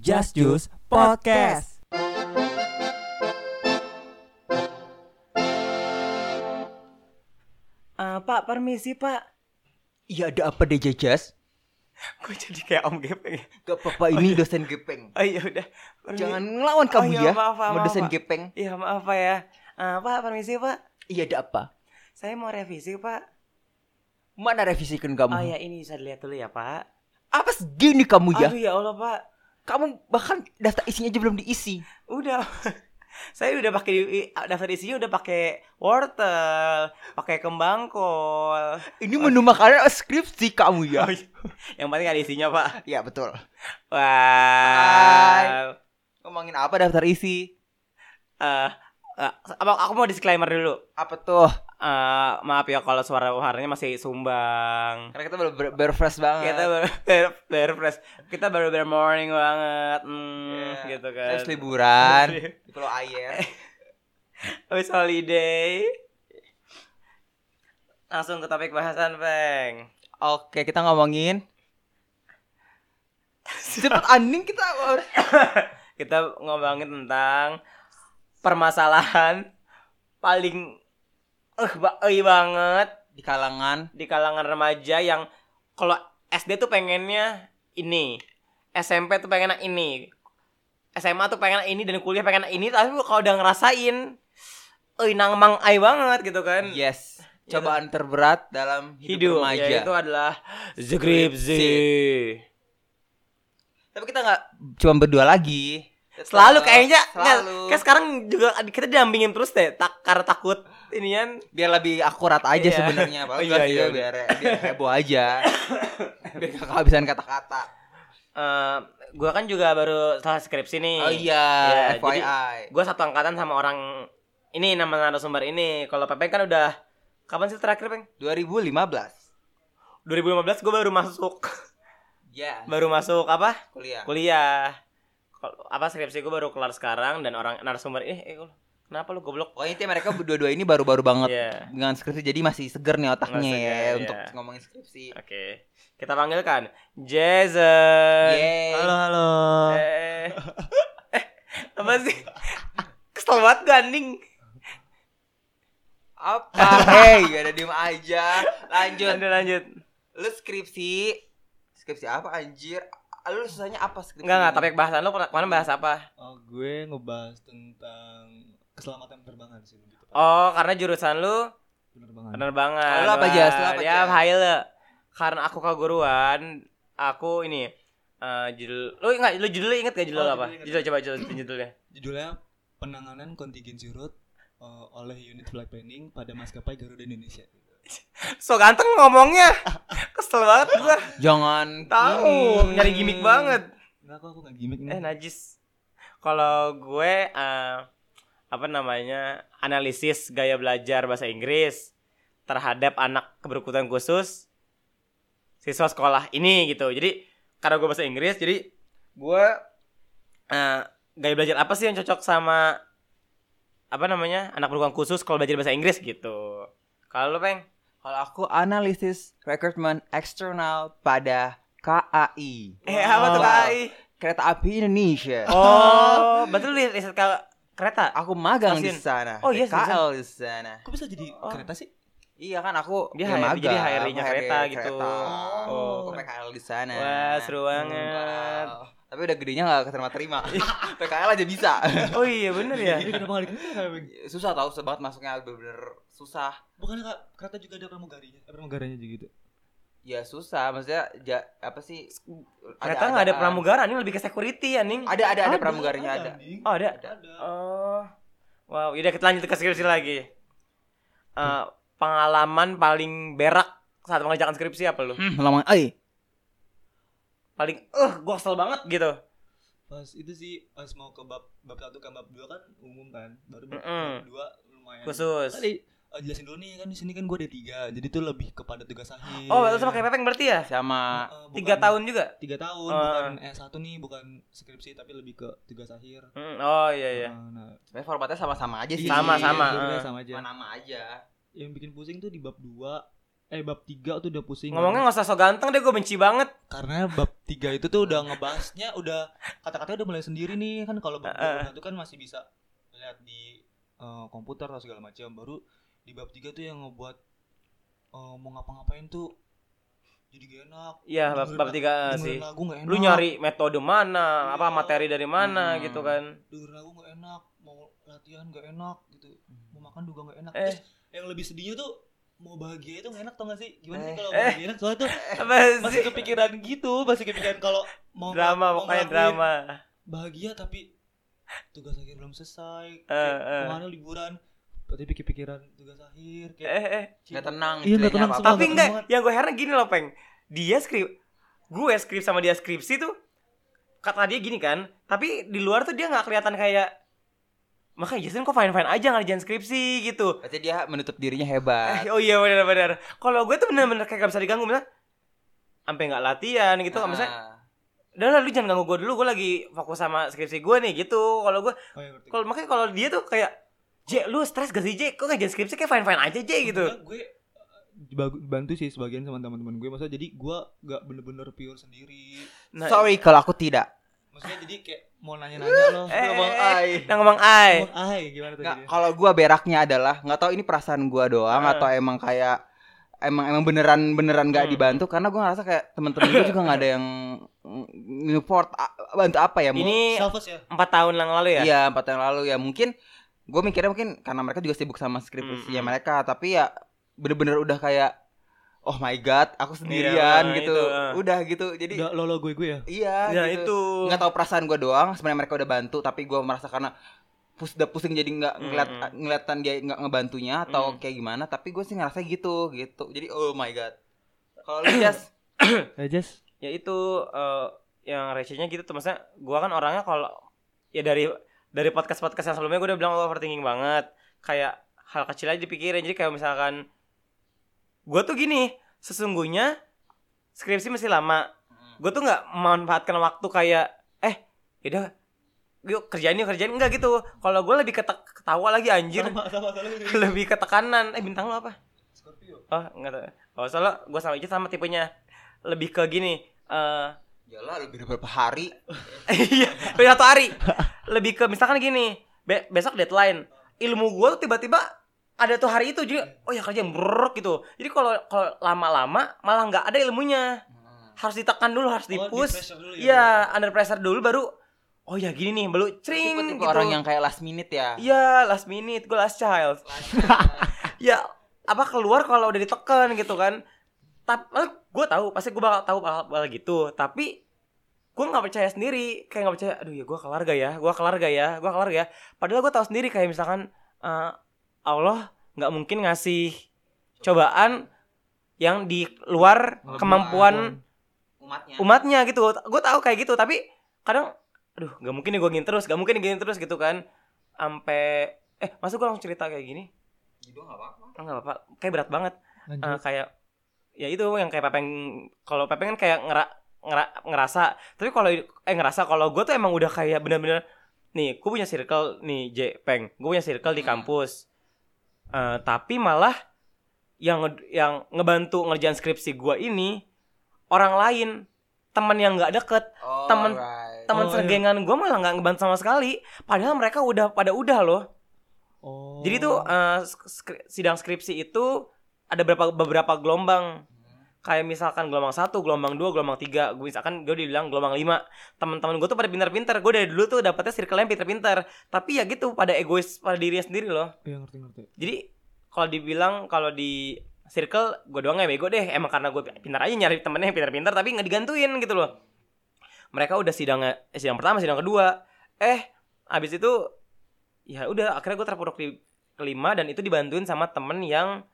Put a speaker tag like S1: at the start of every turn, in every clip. S1: Just Juice Podcast.
S2: Ah, pak, permisi pak.
S1: Iya ada apa DJ Just?
S2: Gue jadi kayak om gepeng. ya?
S1: Gak apa-apa ini dosen gepeng.
S2: Oh iya udah. Permi-
S1: Jangan ngelawan
S2: Oh,
S1: kamu
S2: iya,
S1: ya.
S2: maaf, maaf,
S1: Mau dosen
S2: maaf.
S1: gepeng.
S2: Iya maaf pak ya. Ah, pak, permisi pak.
S1: Iya ada apa?
S2: Saya mau revisi pak.
S1: Mana revisikan kamu?
S2: Oh ya ini bisa dilihat dulu ya pak.
S1: Apa segini kamu ya?
S2: Aduh ya Allah pak.
S1: Kamu bahkan daftar isinya aja belum diisi.
S2: Udah. Saya udah pakai di- daftar isinya udah pakai wortel, pakai kembang kol.
S1: Ini menu makanan skripsi kamu ya?
S2: iya. Oh, iya. Yang penting ada isinya pak.
S1: Iya betul. Hai.
S2: Wah.
S1: Ngomongin apa daftar isi?
S2: Eh, eh, abang, aku mau disclaimer dulu.
S1: Apa tuh?
S2: Eh, maaf ya kalau suara suaranya masih sumbang.
S1: Karena kita baru baru- baru fresh banget.
S2: kita baru baru, baru fresh kita baru baru morning banget hmm,
S1: Iya.
S2: gitu kan
S1: Kita Habis liburan di Pulau Ayer.
S2: habis holiday langsung ke topik bahasan peng
S1: Oke, kita ngomongin Cepet anjing kita harus
S2: kita ngomongin tentang permasalahan paling eh uh, banget
S1: di kalangan
S2: di kalangan remaja yang kalau SD tuh pengennya ini, SMP tuh pengen ini, SMA tuh pengen ini dan kuliah pengen ini, tapi kalau udah ngerasain euy nang mang ai banget gitu kan.
S1: yes, cobaan terberat dalam hidup,
S2: Hidup
S1: remaja.
S2: ya itu adalah skripsi.
S1: Tapi kita nggak cuma berdua lagi.
S2: Selalu kayaknya
S1: selalu.
S2: nggak- kayak sekarang juga kita dampingin terus deh tak, karena takut inian
S1: biar lebih akurat aja
S2: Iya.
S1: sebenarnya, Pak.
S2: Oh,
S1: Enggak
S2: iya,
S1: sih,
S2: iya.
S1: biar biar heboh aja. biar gak kehabisan kata-kata.
S2: eh gua kan juga baru selesai skripsi nih.
S1: Oh iya,
S2: Iya,
S1: FYI.
S2: gue satu angkatan sama orang ini nama narasumber ini kalau Pepeng kan udah kapan sih terakhir Peng
S1: 2015.
S2: 2015 gue baru masuk
S1: Ya,
S2: baru masuk apa
S1: kuliah.
S2: Iya, kuliah Kol- apa skripsi gue baru kelar sekarang dan orang narasumber ini eh, lu- kenapa lu goblok
S1: Pokoknya intinya mereka berdua-dua ini baru-baru banget
S2: Iya.
S1: dengan skripsi jadi masih seger nih otaknya
S2: Masih
S1: ya
S2: seger,
S1: untuk
S2: iya.
S1: ngomongin skripsi.
S2: oke kita panggilkan Jason
S1: Yeay.
S2: halo halo eh, eh, apa sih kesel banget gue anjing
S1: Apa? Hei, gak ada diem aja. Lanjut.
S2: lanjut lanjut
S1: Lu skripsi skripsi apa anjir? Lu susahnya apa skripsi?
S2: enggak enggak
S1: ini?
S2: topik bahasan lu pernah- kemarin bahas apa
S3: Oh, gue ngebahas tentang keselamatan penerbangan sih lebih tepat.
S2: oh karena jurusan lu
S3: Penerbangan.
S2: Bener banget.
S1: Lu apa,
S2: Wah,
S1: Jas? Lu apa,
S2: Ya,
S1: Jas?
S2: Haile. Karena aku keguruan, aku ini eh judul lu enggak lu judulnya inget gak judul
S3: Oh,
S2: lu apa?
S3: judul inget.
S2: Judul coba judul judulnya.
S3: Judulnya penanganan kontingensi road eh, oleh unit flight planning pada maskapai Garuda Indonesia.
S2: So ganteng ngomongnya. Kesel banget gua.
S1: Jangan Hmm.
S2: Tahu,
S1: gini.
S2: nyari gimmick banget.
S3: Enggak kok aku nggak gimmick ini.
S2: Eh najis. Kalau gue eh apa namanya? Analisis gaya belajar bahasa Inggris terhadap anak keberkutan khusus siswa sekolah ini gitu. Jadi karena gue bahasa Inggris, jadi gue eh gaya belajar apa sih yang cocok sama apa namanya anak keberkutan khusus kalau belajar bahasa Inggris gitu. Kalau lo peng,
S1: Kalau aku analisis recruitment eksternal pada KAI.
S2: eh apa tuh
S1: Wow.
S2: KAI?
S1: Oh. Kereta Api Indonesia.
S2: Oh, berarti lu riset ke kereta?
S1: Aku magang di
S2: Stasiun.
S1: sana.
S2: Oh, iya,
S1: KL di sana.
S3: Kok bisa jadi
S2: Oh.
S3: kereta sih?
S1: Iya kan aku
S2: Dia
S1: ya
S2: HRD, jadi
S1: magang,
S2: HRD-nya kereta gitu.
S1: Oh,
S2: Oh.
S1: aku PKL di sana. Hmm,
S2: Wah, seru banget.
S1: Wow. Tapi udah gedenya gak keterima terima. PKL aja bisa.
S2: Oh iya bener ya.
S3: Jadi kenapa nggak di kereta? Bang?
S1: susah tau susah banget masuknya bener-bener susah.
S3: Bukannya Kak, kereta juga ada pramugarinya? Eh, Pramugaranya juga gitu.
S1: Ya susah, maksudnya ja- apa sih?
S2: Ternyata nggak ada
S1: ajaan.
S2: pramugara, ini lebih ke security ya, Ning.
S1: Ada ada ada pramugarinya ada.
S3: anjing.
S2: Oh, ada.
S3: Ada.
S2: Oh. Wow, yaudah kita lanjut ke skripsi lagi. Eh, pengalaman paling berak saat mengerjakan skripsi apa lu?
S1: Hmm, lama. Eh,
S2: Paling eh gua kesel banget gitu.
S3: Pas itu sih pas mau ke bab bab satu kan bab dua kan umum kan. Baru bab,
S2: Mm-mm.
S3: bab dua lumayan.
S2: Khusus.
S3: Tadi eh, jelasin dulu nih kan di sini kan gue ada tiga, jadi tuh lebih kepada tugas akhir.
S2: Oh, lu sama kayak Pepeng berarti ya?
S3: Eh,
S1: sama
S3: bukan-
S2: Tiga tahun juga?
S3: Tiga tahun,
S2: Ah.
S3: bukan
S4: eh,
S3: S1 nih, bukan skripsi tapi lebih ke tugas akhir.
S2: Mm, oh iya iya.
S3: Ah, nah,
S1: sebenarnya formatnya sama-sama aja sih.
S4: Iya,
S2: Sama, sama.
S3: sebenarnya
S2: ah.
S3: sama aja.
S1: Cuma nama aja.
S3: Yang bikin pusing tuh di bab 2 eh bab 3 tuh udah pusing.
S2: Ngomongnya nggak usah so ganteng deh, gue benci banget.
S3: karena bab
S4: tiga itu tuh udah ngebahasnya udah kata-katanya udah mulai sendiri nih kan kalau bab
S2: Heeh.
S4: dua itu kan masih bisa lihat di eh, komputer atau segala macam baru di bab tiga tuh yang ngebuat eh, mau ngapa-ngapain tuh jadi gak enak
S2: Iya, bab, bab tiga
S4: Dengerin
S2: sih.
S4: lagu gak enak
S2: Lu nyari metode mana, apa
S4: Iya.
S2: materi dari mana
S4: Hmm.
S2: gitu kan.
S4: dengerin lagu gak enak mau latihan gak enak gitu mau makan juga gak enak
S2: Eh.
S4: terus yang lebih sedihnya tuh mau bahagia itu gak enak tau gak sih gimana sih
S1: Eh.
S4: kalau
S2: Eh.
S4: bahagia enak soalnya tuh
S2: Apa
S4: masih
S2: sih?
S4: kepikiran gitu masih kepikiran kalau mau
S2: Drama
S4: mau
S2: pokoknya
S4: ngelakuin
S2: drama.
S4: bahagia tapi tugas akhir belum
S2: Eh,
S4: selesai kayak
S2: eh.
S4: kemana liburan tapi pikir-pikiran tugas akhir kayak
S2: Eh, eh.
S1: Nggak tenang
S4: Iya, nggak
S1: istilahnya
S4: tenang
S1: apa-apa.
S4: semua.
S2: Tapi
S4: Nggak
S2: enggak,
S4: banget.
S2: yang gue heran gini loh, Peng. Dia skrip gue skrip sama dia skripsi tuh kata dia gini kan, tapi di luar tuh dia nggak kelihatan kayak makanya Jason kok fine-fine aja ngerjain skripsi gitu.
S1: Berarti dia menutup dirinya hebat.
S2: Eh, oh iya benar-benar. Kalau gue tuh benar-benar kayak gak bisa diganggu misalnya sampai nggak latihan gitu
S1: Ah,
S2: misalnya udah lah lu jangan ganggu gue dulu gue lagi fokus sama skripsi gue nih gitu kalau gue
S4: oh, ya, ngerti.
S2: kalau makanya kalau dia tuh kayak J lu stres gak sih J kok nggak jadi skripsi kayak fine fine aja J gitu
S4: Sebenarnya gue eh, bantu sih sebagian sama teman-teman gue maksudnya jadi gue gak bener-bener pure sendiri
S2: nah,
S1: Sorry kalau aku tidak.
S4: maksudnya jadi kayak mau nanya-nanya lo
S2: Eh,
S1: Ngomong,
S2: eh,
S1: "Ai."
S2: nah, ngomong ai
S4: ngomong ah gimana tuh
S1: Nggak,
S4: jadinya?
S1: kalau gua beraknya adalah nggak tahu ini perasaan gua doang
S2: Eh.
S1: atau emang kayak emang emang beneran beneran nggak
S2: Hmm.
S1: dibantu karena gua ngerasa kayak temen-temen gua juga nggak ada yang support bantu apa ya mau-
S2: ini
S4: selfless ya
S2: empat tahun yang lalu ya
S1: Iya empat tahun lalu ya mungkin gue mikirnya mungkin karena mereka juga sibuk sama skripsi
S2: Mm-mm.
S1: mereka tapi ya bener-bener udah kayak oh my god aku
S2: Iya,
S1: sendirian
S2: nah,
S1: gitu
S2: itu, ah.
S1: udah gitu jadi
S4: udah lo lo gue gue ya
S1: iya
S2: nah
S1: gitu.
S2: itu
S1: nggak tahu perasaan gue doang sebenarnya mereka udah bantu tapi gue merasa karena pus udah pusing jadi nggak ngeliat ah,
S2: Mm-mm.
S1: ngeliatan dia nggak ngebantunya atau
S2: Mm.
S1: kayak gimana tapi gue sih ngerasa gitu gitu jadi oh my god kalau lu Jas,
S4: ya Jess
S2: ya itu eh, yang recehnya gitu tuh maksudnya gua kan orangnya kalau ya dari dari podcast podcast yang sebelumnya gua udah bilang gua overthinking banget kayak hal kecil aja dipikirin jadi kayak misalkan gua tuh gini sesungguhnya skripsi masih lama gua tuh nggak memanfaatkan waktu kayak eh yaudah yuk kerjain yuk kerjain enggak gitu kalau gua lebih ketek- ketawa lagi anjir
S4: sama sama sama
S2: lebih ketekanan eh bintang lo apa
S4: Scorpio
S2: oh enggak tahu oh soalnya gua sama Ica sama tipenya lebih ke gini eh
S1: Yalah Ya lebih dari beberapa hari
S2: Iya, dari satu hari. Lebih ke misalkan gini, be- besok deadline. Ilmu gua tuh tiba-tiba ada tuh hari itu jadi oh ya kerja brrrr gitu. Jadi kalau kalau lama-lama malah nggak ada ilmunya. Harus ditekan dulu, harus dipus.
S4: Oh, pressure dulu ya
S2: Iya, under pressure dulu baru oh ya gini nih, baru cering
S1: tipe tipe
S2: gitu.
S1: orang yang kayak last minute ya
S2: Iya, last minute, gue last child. ya apa keluar kalau udah ditekan gitu kan. Tapi gue tahu, pasti gue bakal tahu hal-hal gitu. Tapi gue nggak percaya sendiri, kayak nggak percaya. Aduh ya gue kelar gak ya, gue kelar gak ya, gue kelar gak ya. Padahal gue tahu sendiri kayak misalkan eh, Allah nggak mungkin ngasih cobaan yang di luar
S1: Kemampuan. umatnya
S2: kemampuan umatnya gitu gue tahu kayak gitu tapi kadang aduh gak mungkin nih gue gini terus gak mungkin nih gini terus gitu kan sampai eh masa gue langsung cerita kayak gini
S1: Gitu nggak apa-apa
S2: oh, nggak apa-apa kayak berat banget
S4: Lanjut.
S2: Eh, kayak ya itu yang kayak pepeng kalau pepeng kan kayak ngera, ngera- ngerasa tapi kalau eh ngerasa kalau gue tuh emang udah kayak bener-bener nih gue punya circle nih J peng gue punya circle di kampus Eh, tapi malah yang nge- yang ngebantu ngerjain skripsi gue ini orang lain teman yang nggak deket
S1: Oh,
S2: Temen-
S1: right.
S2: teman
S4: Oh, iya.
S2: sergengan gue malah nggak ngebantu sama sekali padahal mereka udah pada udah loh
S4: oh
S2: jadi tuh eh, skri- sidang skripsi itu ada beberapa beberapa gelombang kayak misalkan gelombang satu, gelombang dua, gelombang tiga, gue misalkan gue dibilang gelombang lima. Teman-teman gue tuh pada pintar-pintar, gue dari dulu tuh dapetnya circle yang pintar-pintar. Tapi ya gitu pada egois pada dirinya sendiri loh.
S4: Iya, ngerti ngerti
S2: Jadi kalau dibilang kalau di circle gue doang ya bego deh. Emang karena gue pintar aja nyari temennya yang pintar-pintar tapi nggak digantuin gitu loh. Mereka udah sidang eh, sidang pertama, sidang kedua. Eh, abis itu ya udah akhirnya gue terpuruk di kelima dan itu dibantuin sama temen yang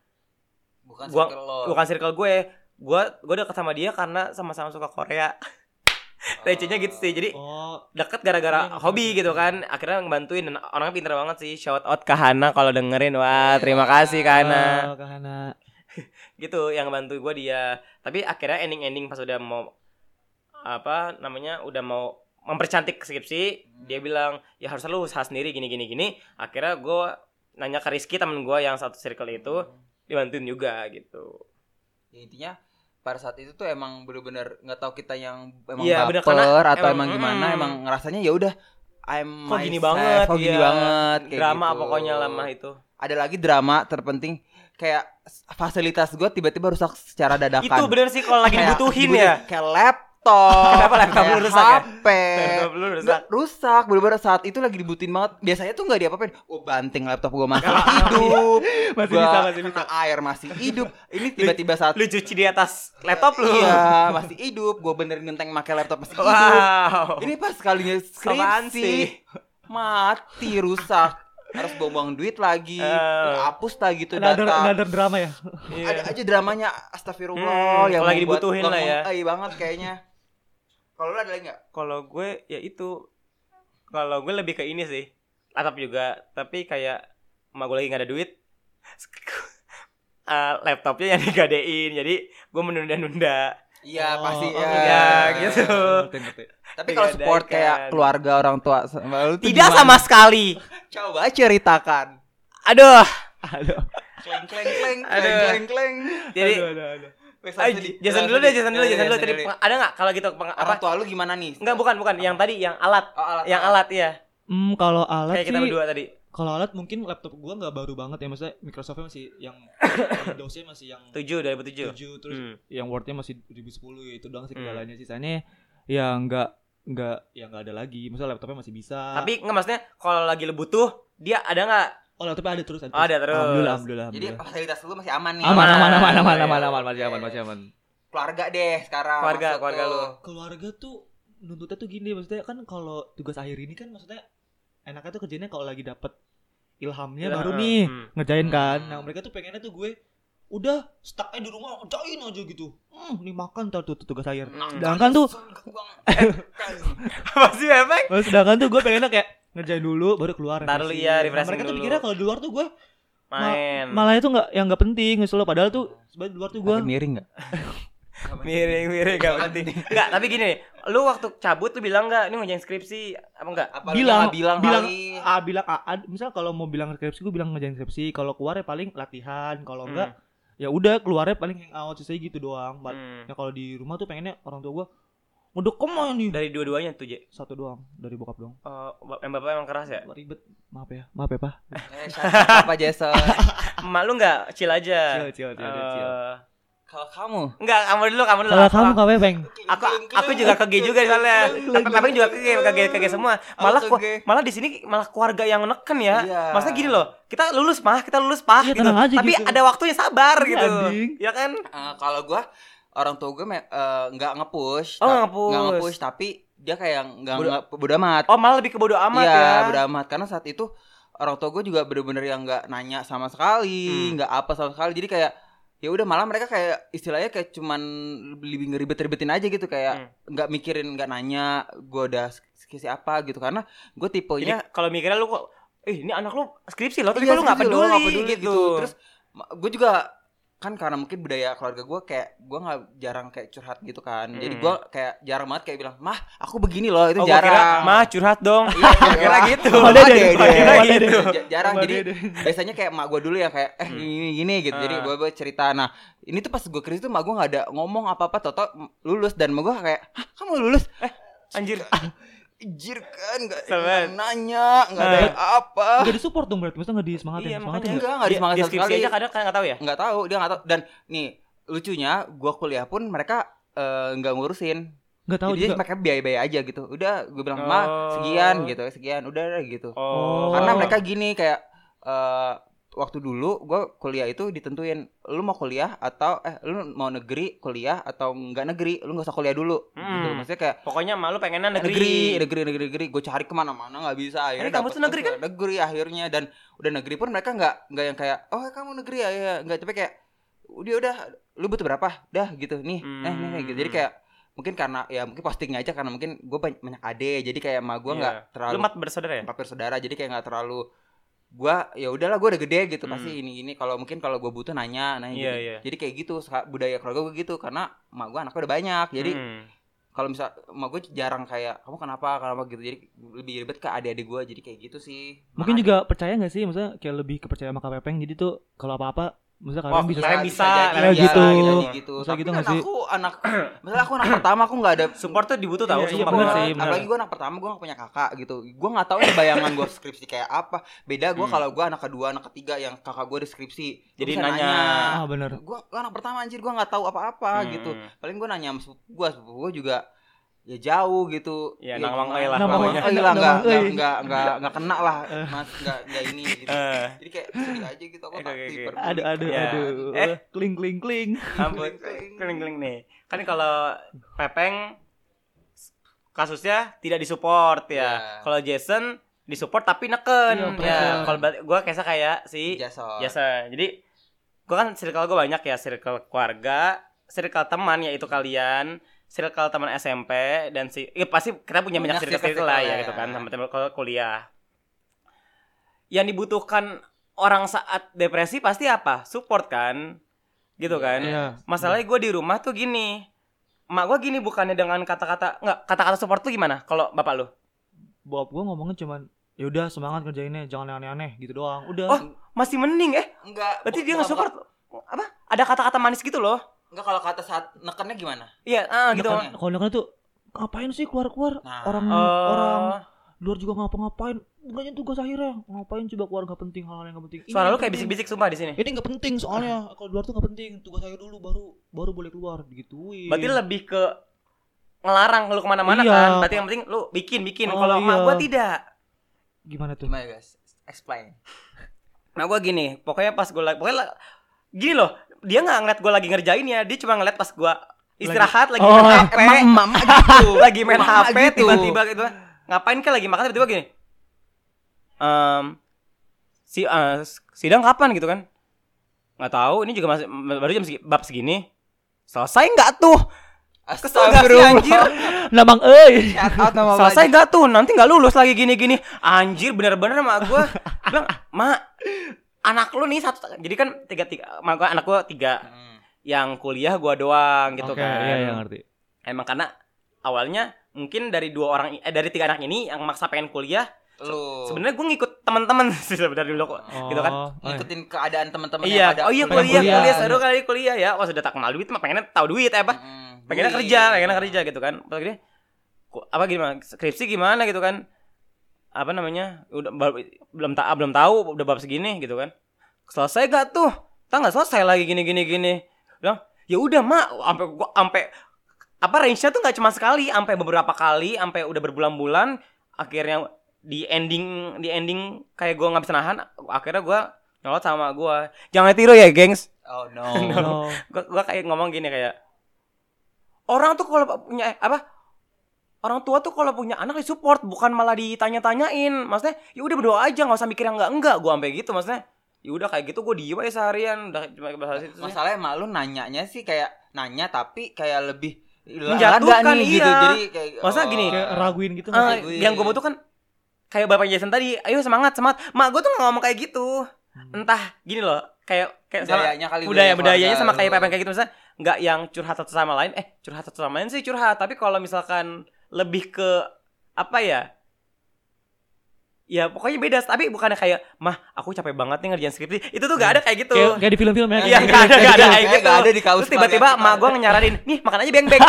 S1: bukan
S2: Gua-
S1: circle lo. Oh.
S2: bukan circle gue. Gue gue deket sama dia karena sama-sama suka Korea. Recehnya gitu sih. Jadi
S4: oh
S2: deket gara-gara
S4: Iya,
S2: hobi
S4: ngerti.
S2: gitu kan. Akhirnya ngebantuin dan orangnya pinter banget sih. Shout out ke Hana kalau dengerin. Wah, terima kasih Kak Hana.
S4: Oh, Kak Hana.
S2: gitu yang bantu gue dia tapi akhirnya ending ending pas udah mau apa namanya udah mau mempercantik skripsi
S1: Hmm.
S2: dia bilang ya harus lu usaha sendiri gini gini gini akhirnya gue nanya
S1: Hmm.
S2: ke Rizky temen gue yang satu circle itu dibantuin juga gitu
S1: Ya, intinya pada saat itu tuh emang bener-bener nggak tahu kita yang emang
S2: Iya, bener,
S1: baper
S2: karena
S1: atau
S2: emang-
S1: emang gimana
S2: mm.
S1: emang ngerasanya ya udah I'm
S2: Kok gini
S1: myself,
S2: banget,
S1: kok gini
S2: iya.
S1: banget kayak
S2: drama
S1: gitu.
S2: pokoknya lama itu
S1: ada lagi drama terpenting kayak s- fasilitas gue tiba-tiba rusak secara dadakan
S2: itu bener sih kalau
S1: Iya
S2: lagi
S1: kan. Kayak
S2: dibutuhin
S1: dibutuhin,
S2: ya
S1: kayak laptop
S2: Kenapa laptop
S1: kayak
S2: lu rusak ya?
S1: HP
S2: Laptop lu rusak.
S1: Nggak, rusak bener-bener saat itu lagi dibutuhin banget biasanya tuh nggak diapa-apain gue banting laptop gue masih hidup
S2: Masih
S1: Gua
S2: bisa, masih
S1: kena air masih hidup ini tiba-tiba saat
S2: lu cuci di atas laptop lu
S1: iya masih hidup gue benerin genteng pakai laptop masih hidup
S2: wow
S1: ini pas kalinya
S2: Apaan sih?
S1: skripsi mati rusak harus buang-buang duit lagi
S2: Eh.
S1: hapus lah gitu
S4: Another,
S1: data
S4: another drama ya.
S2: Iya.
S1: ada aja dramanya astagfirullah
S2: Hmm,
S1: yang
S2: kalau lagi
S1: membuat
S2: dibutuhin lah ya.
S1: bangkai banget kayaknya kalau lu ada lagi nggak
S2: kalau gue ya itu kalau gue lebih ke ini sih laptop juga tapi kayak emak gue lagi nggak ada duit Eh, laptopnya yang digadein jadi gue menunda-nunda
S1: iya
S4: Oh,
S1: pasti
S4: oh,
S1: ya
S2: iya, gitu.
S4: Ngerti, ngerti.
S1: tapi kalau support
S2: Digadaikan.
S1: kayak keluarga orang tua sama lu tuh
S2: tidak
S1: gimana?
S2: sama sekali
S1: coba ceritakan
S2: aduh
S4: Aduh,
S1: kleng kleng kleng
S2: Aduh.
S1: kleng kleng kleng
S2: jadi
S4: aduh, aduh, aduh.
S1: Wes,
S2: Ay,
S1: langsung di-
S2: Jason
S1: langsung
S2: dulu
S1: di-
S2: deh, Jason dulu,
S1: Iya,
S2: Jason dulu.
S1: Jason
S2: Tadi
S1: dulu.
S2: peng- ada nggak kalau gitu peng- apa?
S1: orang tua lu gimana nih
S2: Enggak, bukan, bukan. Yang tadi, yang alat,
S1: oh, alat
S2: yang alat ya.
S4: Hmm, kalau alat
S2: Kayak kita
S4: sih,
S2: berdua tadi.
S4: kalau alat mungkin laptop gua nggak baru banget ya, maksudnya Microsoftnya masih yang Windowsnya masih yang
S2: Tujuh, 2007
S4: tujuh, terus
S2: Hmm.
S4: yang Wordnya masih 2010 ya itu doang sih
S2: Hmm.
S4: kendalanya sisanya ya nggak nggak ya nggak ada lagi maksudnya laptopnya masih bisa
S2: Tapi nggak maksudnya kalau lagi butuh, dia ada nggak?
S4: oh laptopnya ada terus ada,
S2: Oh, ada terus.
S4: alhamdulillah alhamdulillah,
S1: jadi
S4: alhamdulillah.
S1: fasilitas lu masih aman nih
S4: aman aman aman aman
S2: Iya,
S4: aman
S2: iya.
S4: aman masih aman masih aman
S1: keluarga deh sekarang
S2: Keluarga,
S1: maksud
S2: keluarga lu.
S4: keluarga tuh nuntutnya tuh gini maksudnya kan kalau tugas akhir ini kan maksudnya enaknya tuh kerjanya kalau lagi dapet ilhamnya baru
S2: Hmm.
S4: nih
S2: Hmm.
S4: ngerjain kan
S1: Hmm.
S4: nah mereka tuh pengennya tuh gue udah stuck aja di rumah kerjain aja gitu hmm nih makan ntar tuh tugas akhir
S2: Hmm.
S4: sedangkan Kan tuh
S2: Apa sih efek?
S4: Nah, sedangkan tuh gue pengennya kayak ngerjain dulu baru keluar
S2: Ntar dulu,
S4: refreshing.
S2: iya,
S4: Nah,
S2: refreshing
S4: mereka tuh
S2: dulu.
S4: pikirnya kalau di luar tuh gue
S2: Main.
S4: malah itu nggak yang nggak penting misalnya padahal tuh sebenarnya di luar tuh gue
S1: Ada miring nggak
S2: Miring, miring, gak penting. Enggak, tapi gini nih, lu waktu cabut lu bilang nggak, ini ngerjain skripsi, apa enggak?
S1: Apa lu
S4: bilang
S1: nggak bilang
S4: bilang
S1: kali?
S4: a bilang a, A- misalnya kalau mau bilang skripsi gue bilang ngerjain skripsi kalau keluar ya paling latihan kalau enggak ya udah keluarnya paling hangout sisanya gitu doang Nah
S2: Hmm.
S4: kalau di rumah tuh pengennya orang tua gue udah kemana nih
S2: Dari dua-duanya tuh, Je.
S4: satu doang dari bokap doang
S2: Eh, bap- Yang bapak emang keras ya?
S4: ribet maaf ya maaf ya pak
S1: Eh, shut up, apa Jason
S2: Emak lu nggak chill aja.
S4: Chill, chill, chill,
S2: Eh,
S4: chill.
S1: kalau kamu
S2: Enggak, kamu dulu, kamu dulu.
S4: kalau
S2: Aku-
S4: kamu kawe beng
S2: aku aku juga kege juga di sana. Tapi tapi juga kege kege kege semua. Malah
S1: Aku
S2: ku-
S1: kege.
S2: malah di sini malah keluarga yang neken ya.
S1: Iya.
S2: Maksudnya gini loh, kita lulus mah, kita lulus pah
S4: Iya,
S2: gitu.
S4: tenang aja
S2: Tapi
S4: gitu.
S2: ada waktunya sabar
S4: Iya,
S2: gitu.
S4: anjing.
S2: Ya kan?
S1: Eh, kalau gue orang tua gue me- eh, nggak ngepush ta-
S2: Oh, nggak nge-push.
S1: nggak ngepush tapi dia kayak nggak
S2: Bodo-
S1: nggak bodo amat
S2: Oh, malah lebih ke bodo amat
S1: Iya,
S2: ya.
S1: bodo amat karena saat itu orang tua gue juga bener-bener yang nggak nanya sama sekali
S2: Hmm.
S1: nggak apa sama sekali jadi kayak ya udah malah mereka kayak istilahnya kayak cuman lebih ngeribet-ribetin aja gitu
S2: Hmm.
S1: kayak nggak mikirin nggak nanya gue udah skripsi apa gitu karena gue
S2: Jadi
S1: tipenya
S2: kalau mikirnya lu kok eh ini anak lu skripsi loh, tapi
S1: Iya,
S2: kok lu nggak
S1: skripsi
S2: peduli,
S1: loh, nggak
S2: gitu.
S1: Terus gue juga kan karena mungkin budaya keluarga gue kayak gue nggak jarang kayak curhat gitu kan. Jadi
S2: Hmm.
S1: gue kayak jarang banget kayak bilang, mah aku begini loh itu
S2: oh, gua
S1: jarang.
S2: kira, mah curhat dong.
S1: Iya,
S2: Gua kira
S1: jarang.
S2: gitu.
S4: Sama dede,
S1: Dede.
S4: sama dede.
S1: Sama
S2: dede.
S1: Ja- jarang
S4: Sama
S1: jadi
S4: dede.
S1: biasanya kayak emak gue dulu yang kayak eh
S2: gitu. Hmm.
S1: gini gini gitu jadi
S2: Ah.
S1: gue gue cerita nah ini tuh pas gue krisis tuh emak gue nggak ada ngomong apa apa toto lulus dan emak gue kayak Hah, kamu lulus
S2: Anjir.
S1: Anjir kan nggak
S2: Sabar.
S1: nggak nanya nggak ada
S2: Ah.
S1: yang apa
S4: nggak di support dong berarti maksudnya nggak disemangatin
S2: Iya,
S4: semangatin
S2: makanya.
S4: nggak?
S1: enggak nggak ada semangat
S2: Dia
S1: sama
S2: skripsi
S1: sekali
S2: aja kadang kadang nggak tahu ya.
S1: nggak tahu dia nggak tahu dan nih lucunya gua kuliah pun mereka eh, nggak ngurusin
S4: nggak tahu
S1: jadi
S4: juga
S1: dia pakai biaya-biaya aja gitu udah gue bilang
S2: Oh.
S1: mah sekian gitu sekian udah gitu
S4: Oh.
S1: karena mereka gini kayak eh, waktu dulu gua kuliah itu ditentuin lu mau kuliah atau eh lu mau negeri kuliah atau nggak negeri lu nggak usah kuliah dulu gitu
S2: Hmm.
S1: maksudnya kayak
S2: pokoknya malu pengennya
S1: negeri negeri negeri negeri gue cari kemana-mana nggak bisa akhirnya
S2: kamu
S1: dapet
S2: tuh negeri kan?
S1: ke negeri akhirnya dan udah negeri pun mereka nggak nggak yang kayak oh kamu negeri ya ya nggak tapi kayak udah udah lu butuh berapa dah gitu nih eh nih, nih," gitu jadi
S2: Hmm.
S1: kayak mungkin karena ya mungkin postingnya aja karena mungkin gue banyak, banyak ade jadi kayak sama gue
S2: Iya.
S1: nggak
S2: Lu
S1: terlalu
S2: mat bersaudara ya?
S1: empat bersaudara jadi kayak nggak terlalu gua ya udahlah gua udah gede gitu
S2: Hmm.
S1: pasti ini ini kalau mungkin kalau gua butuh nanya nanya
S2: Iya,
S1: gitu.
S2: iya.
S1: jadi kayak gitu sa- budaya keluarga gue gitu karena emak gua anaknya udah banyak jadi
S2: Hmm.
S1: kalau misal emak gue jarang kayak kamu kenapa kenapa gitu jadi lebih ribet ke adik-adik gue jadi kayak gitu sih
S4: Mungkin
S1: Makanya-
S4: juga percaya gak sih, maksudnya kayak lebih kepercaya sama Kak Pepeng, jadi tuh kalau apa-apa Misalnya
S2: Oh,
S4: kalian bisa
S2: kalian
S4: sa-
S2: bisa,
S4: kalian
S1: iya,
S4: gitu.
S1: jadi gitu.
S4: Bisa
S1: Tapi
S4: gitu
S1: kan
S4: nggak sih?
S1: aku anak, misalnya aku anak pertama aku nggak ada
S2: Support tuh dibutuh tau
S4: Iya,
S2: sumpah
S4: bener
S2: gua.
S4: sih, bener.
S1: Apalagi gue anak pertama gue gak punya kakak gitu Gue gak tahu nih bayangan gue skripsi kayak apa Beda gue
S2: Hmm.
S1: kalau gue anak kedua, anak ketiga yang kakak gue ada skripsi Gua
S2: Jadi
S1: bisa
S2: nanya.
S4: Ah, bener.
S1: Gue anak pertama anjir gue gak tahu apa-apa
S2: Hmm.
S1: gitu Paling gue nanya sama sepupu gue, sepupu gue juga ya jauh gitu
S2: Ya, nang mangkai lah
S1: nang
S4: pokoknya.
S1: mangkai lah
S4: Nang
S1: nggak
S4: mangkai.
S1: nggak
S2: iya.
S1: nggak nggak nggak kena lah mas nggak nggak ini gitu
S2: Eh,
S1: jadi kayak sedih aja gitu aku
S2: Oke,
S1: tak
S2: oke, oke.
S1: diperbudak.
S4: Aduh, aduh,
S2: Ya.
S4: aduh.
S2: Eh.
S4: Iya. Kling, kling, kling.
S2: ampun keling keling nih. Kan kalau Pepeng kasusnya tidak disupport ya.
S1: Ya.
S2: Kalau Jason disupport tapi neken
S4: Iya,
S2: ya.
S4: bener.
S2: Kalau ba- gua kesa kayak si
S1: Jason
S2: Biasa. Jadi gua kan circle gua banyak ya, circle keluarga, circle teman yaitu kalian, circle teman SMP dan si ya pasti kita punya banyak
S1: Banyak
S2: circle
S1: circle
S2: lah
S1: ya.
S2: ya gitu kan teman-teman kalau kuliah. Yang dibutuhkan orang saat depresi pasti apa? Support kan? Gitu kan?
S4: Iya.
S2: Masalahnya gue di rumah tuh gini. Mak gue gini bukannya dengan kata-kata nggak kata-kata support tuh gimana? Kalau bapak lu?
S4: Bob gua ngomongnya cuman ya udah semangat kerjainnya jangan yang aneh-aneh gitu doang udah
S2: Oh, Masih mending eh?
S1: enggak
S2: Berarti dia
S1: bukan-
S2: nggak support apa? Ada kata-kata manis gitu loh?
S1: enggak kalau kata saat nekennya gimana
S2: Iya, ah, gitu.
S1: Nekan-
S4: kalau nekan Kan tuh ngapain sih keluar-keluar
S1: Nah.
S4: orang
S2: Oh.
S4: Hmm, orang luar juga ngapa-ngapain enggaknya tugas akhirnya ngapain coba keluar nggak penting hal-hal yang nggak penting Ini
S2: Suara lu
S4: nggak
S2: kayak
S4: penting.
S2: bisik-bisik sumpah di sini.
S4: ini nggak penting soalnya kalau luar tuh nggak penting tugas akhir dulu baru baru boleh keluar digituin
S2: Berarti lebih ke ngelarang lu kemana-mana
S4: Iya.
S2: kan. Berarti yang penting lu bikin bikin.
S4: Oh,
S2: Kalau emak
S4: iya.
S2: gua tidak.
S4: gimana tuh
S1: gimana guys explain
S2: Nah gua gini, pokoknya pas gua lagi pokoknya la- gini loh, dia nggak ngeliat gua lagi ngerjain ya, dia cuma ngeliat pas gua istirahat lagi,
S4: Oh,
S2: main HP,
S1: Eh, emang mama gitu
S2: lagi main
S1: Mama
S2: HP
S1: gitu.
S2: tiba-tiba gitu. Ngapain kan lagi makan tiba-tiba gini. Em si eh, sidang kapan gitu kan? Nggak tahu, ini juga masih baru jam segi- bab segini. Selesai nggak tuh? Kesel nggak sih
S1: Astagfirullah
S2: anjir?
S4: nah bang eh
S1: Shout out nama
S2: selesai gak tuh nanti nggak lulus lagi gini-gini anjir bener-bener sama gue bilang mak anak lu nih satu jadi kan tiga tiga mak gua- anak gue tiga
S1: Hmm.
S2: yang kuliah gue doang gitu
S4: Oke,
S2: kan
S4: iya, iya, ngerti
S2: emang karena awalnya mungkin dari dua orang i- eh, dari tiga anak ini yang maksa pengen kuliah
S1: lu Hmm.
S2: sebenarnya gue ngikut teman-teman sih sebenarnya dulu kok Gitu kan,
S4: Oh, eh.
S1: ngikutin keadaan teman-teman yang
S2: iya
S1: ada
S2: oh iya
S4: pengen
S2: kuliah
S4: kuliah.
S2: kuliah seru kali kuliah ya wah sudah tak kenal duit mah pengennya tahu duit eh, apa
S1: Mm-mm.
S2: pengennya
S1: Duit.
S2: kerja pengennya kerja gitu kan pas gede ku- apa gimana skripsi gimana gitu kan apa namanya udah baru- belum tak belum tahu udah bab segini gitu kan selesai gak tuh tak nggak selesai lagi gini gini gini bilang ya udah mak sampai gua sampai apa range-nya tuh nggak cuma sekali sampai beberapa kali sampai udah berbulan-bulan akhirnya di ending di ending kayak gua nggak bisa nahan akhirnya gua nyolot sama gua jangan tiru ya gengs
S1: oh no
S2: Nah.
S4: eh. No.
S2: gua, gua kayak ngomong gini kayak orang tuh kalau punya eh, apa orang tua tuh kalau punya anak disupport bukan malah ditanya-tanyain maksudnya ya udah berdoa aja nggak usah mikir yang enggak enggak gua sampai gitu maksudnya ya udah kayak gitu gua diem aja seharian udah cuma bahas itu sih.
S1: masalahnya emak lu nanyanya sih kayak nanya tapi kayak lebih
S2: Menjatuhkan,
S1: Lada nih, gitu
S2: iya.
S1: jadi kayak oh,
S2: Masalah gini,
S4: oh, kayak raguin gitu nggak
S2: Eh,
S4: sih?
S1: gue-
S2: yang gua butuh kan kayak bapak Jason tadi ayo semangat semangat mak gua tuh nggak ngomong kayak gitu entah gini loh kayak kayak sama-
S1: budayanya kali
S2: budaya budayanya
S1: keluarga
S2: sama kayak
S1: lu.
S2: pepeng kayak gitu misalnya nggak yang curhat satu sama lain eh curhat satu sama lain sih curhat tapi kalau misalkan lebih ke apa ya ya pokoknya beda tapi bukannya kayak mah aku capek banget nih ngerjain skripsi itu tuh gak ada kayak gitu
S4: kayak kayak di film-film ya
S2: Iya,
S4: kayak
S2: nggak ada, nggak
S4: kayak
S2: ada. kayak
S4: gitu.
S1: Kayaknya
S2: gitu.
S1: nggak ada di kaos
S2: terus tiba-tiba
S1: keluarga kita.
S2: emak gue ngenyaranin nih makan aja beng beng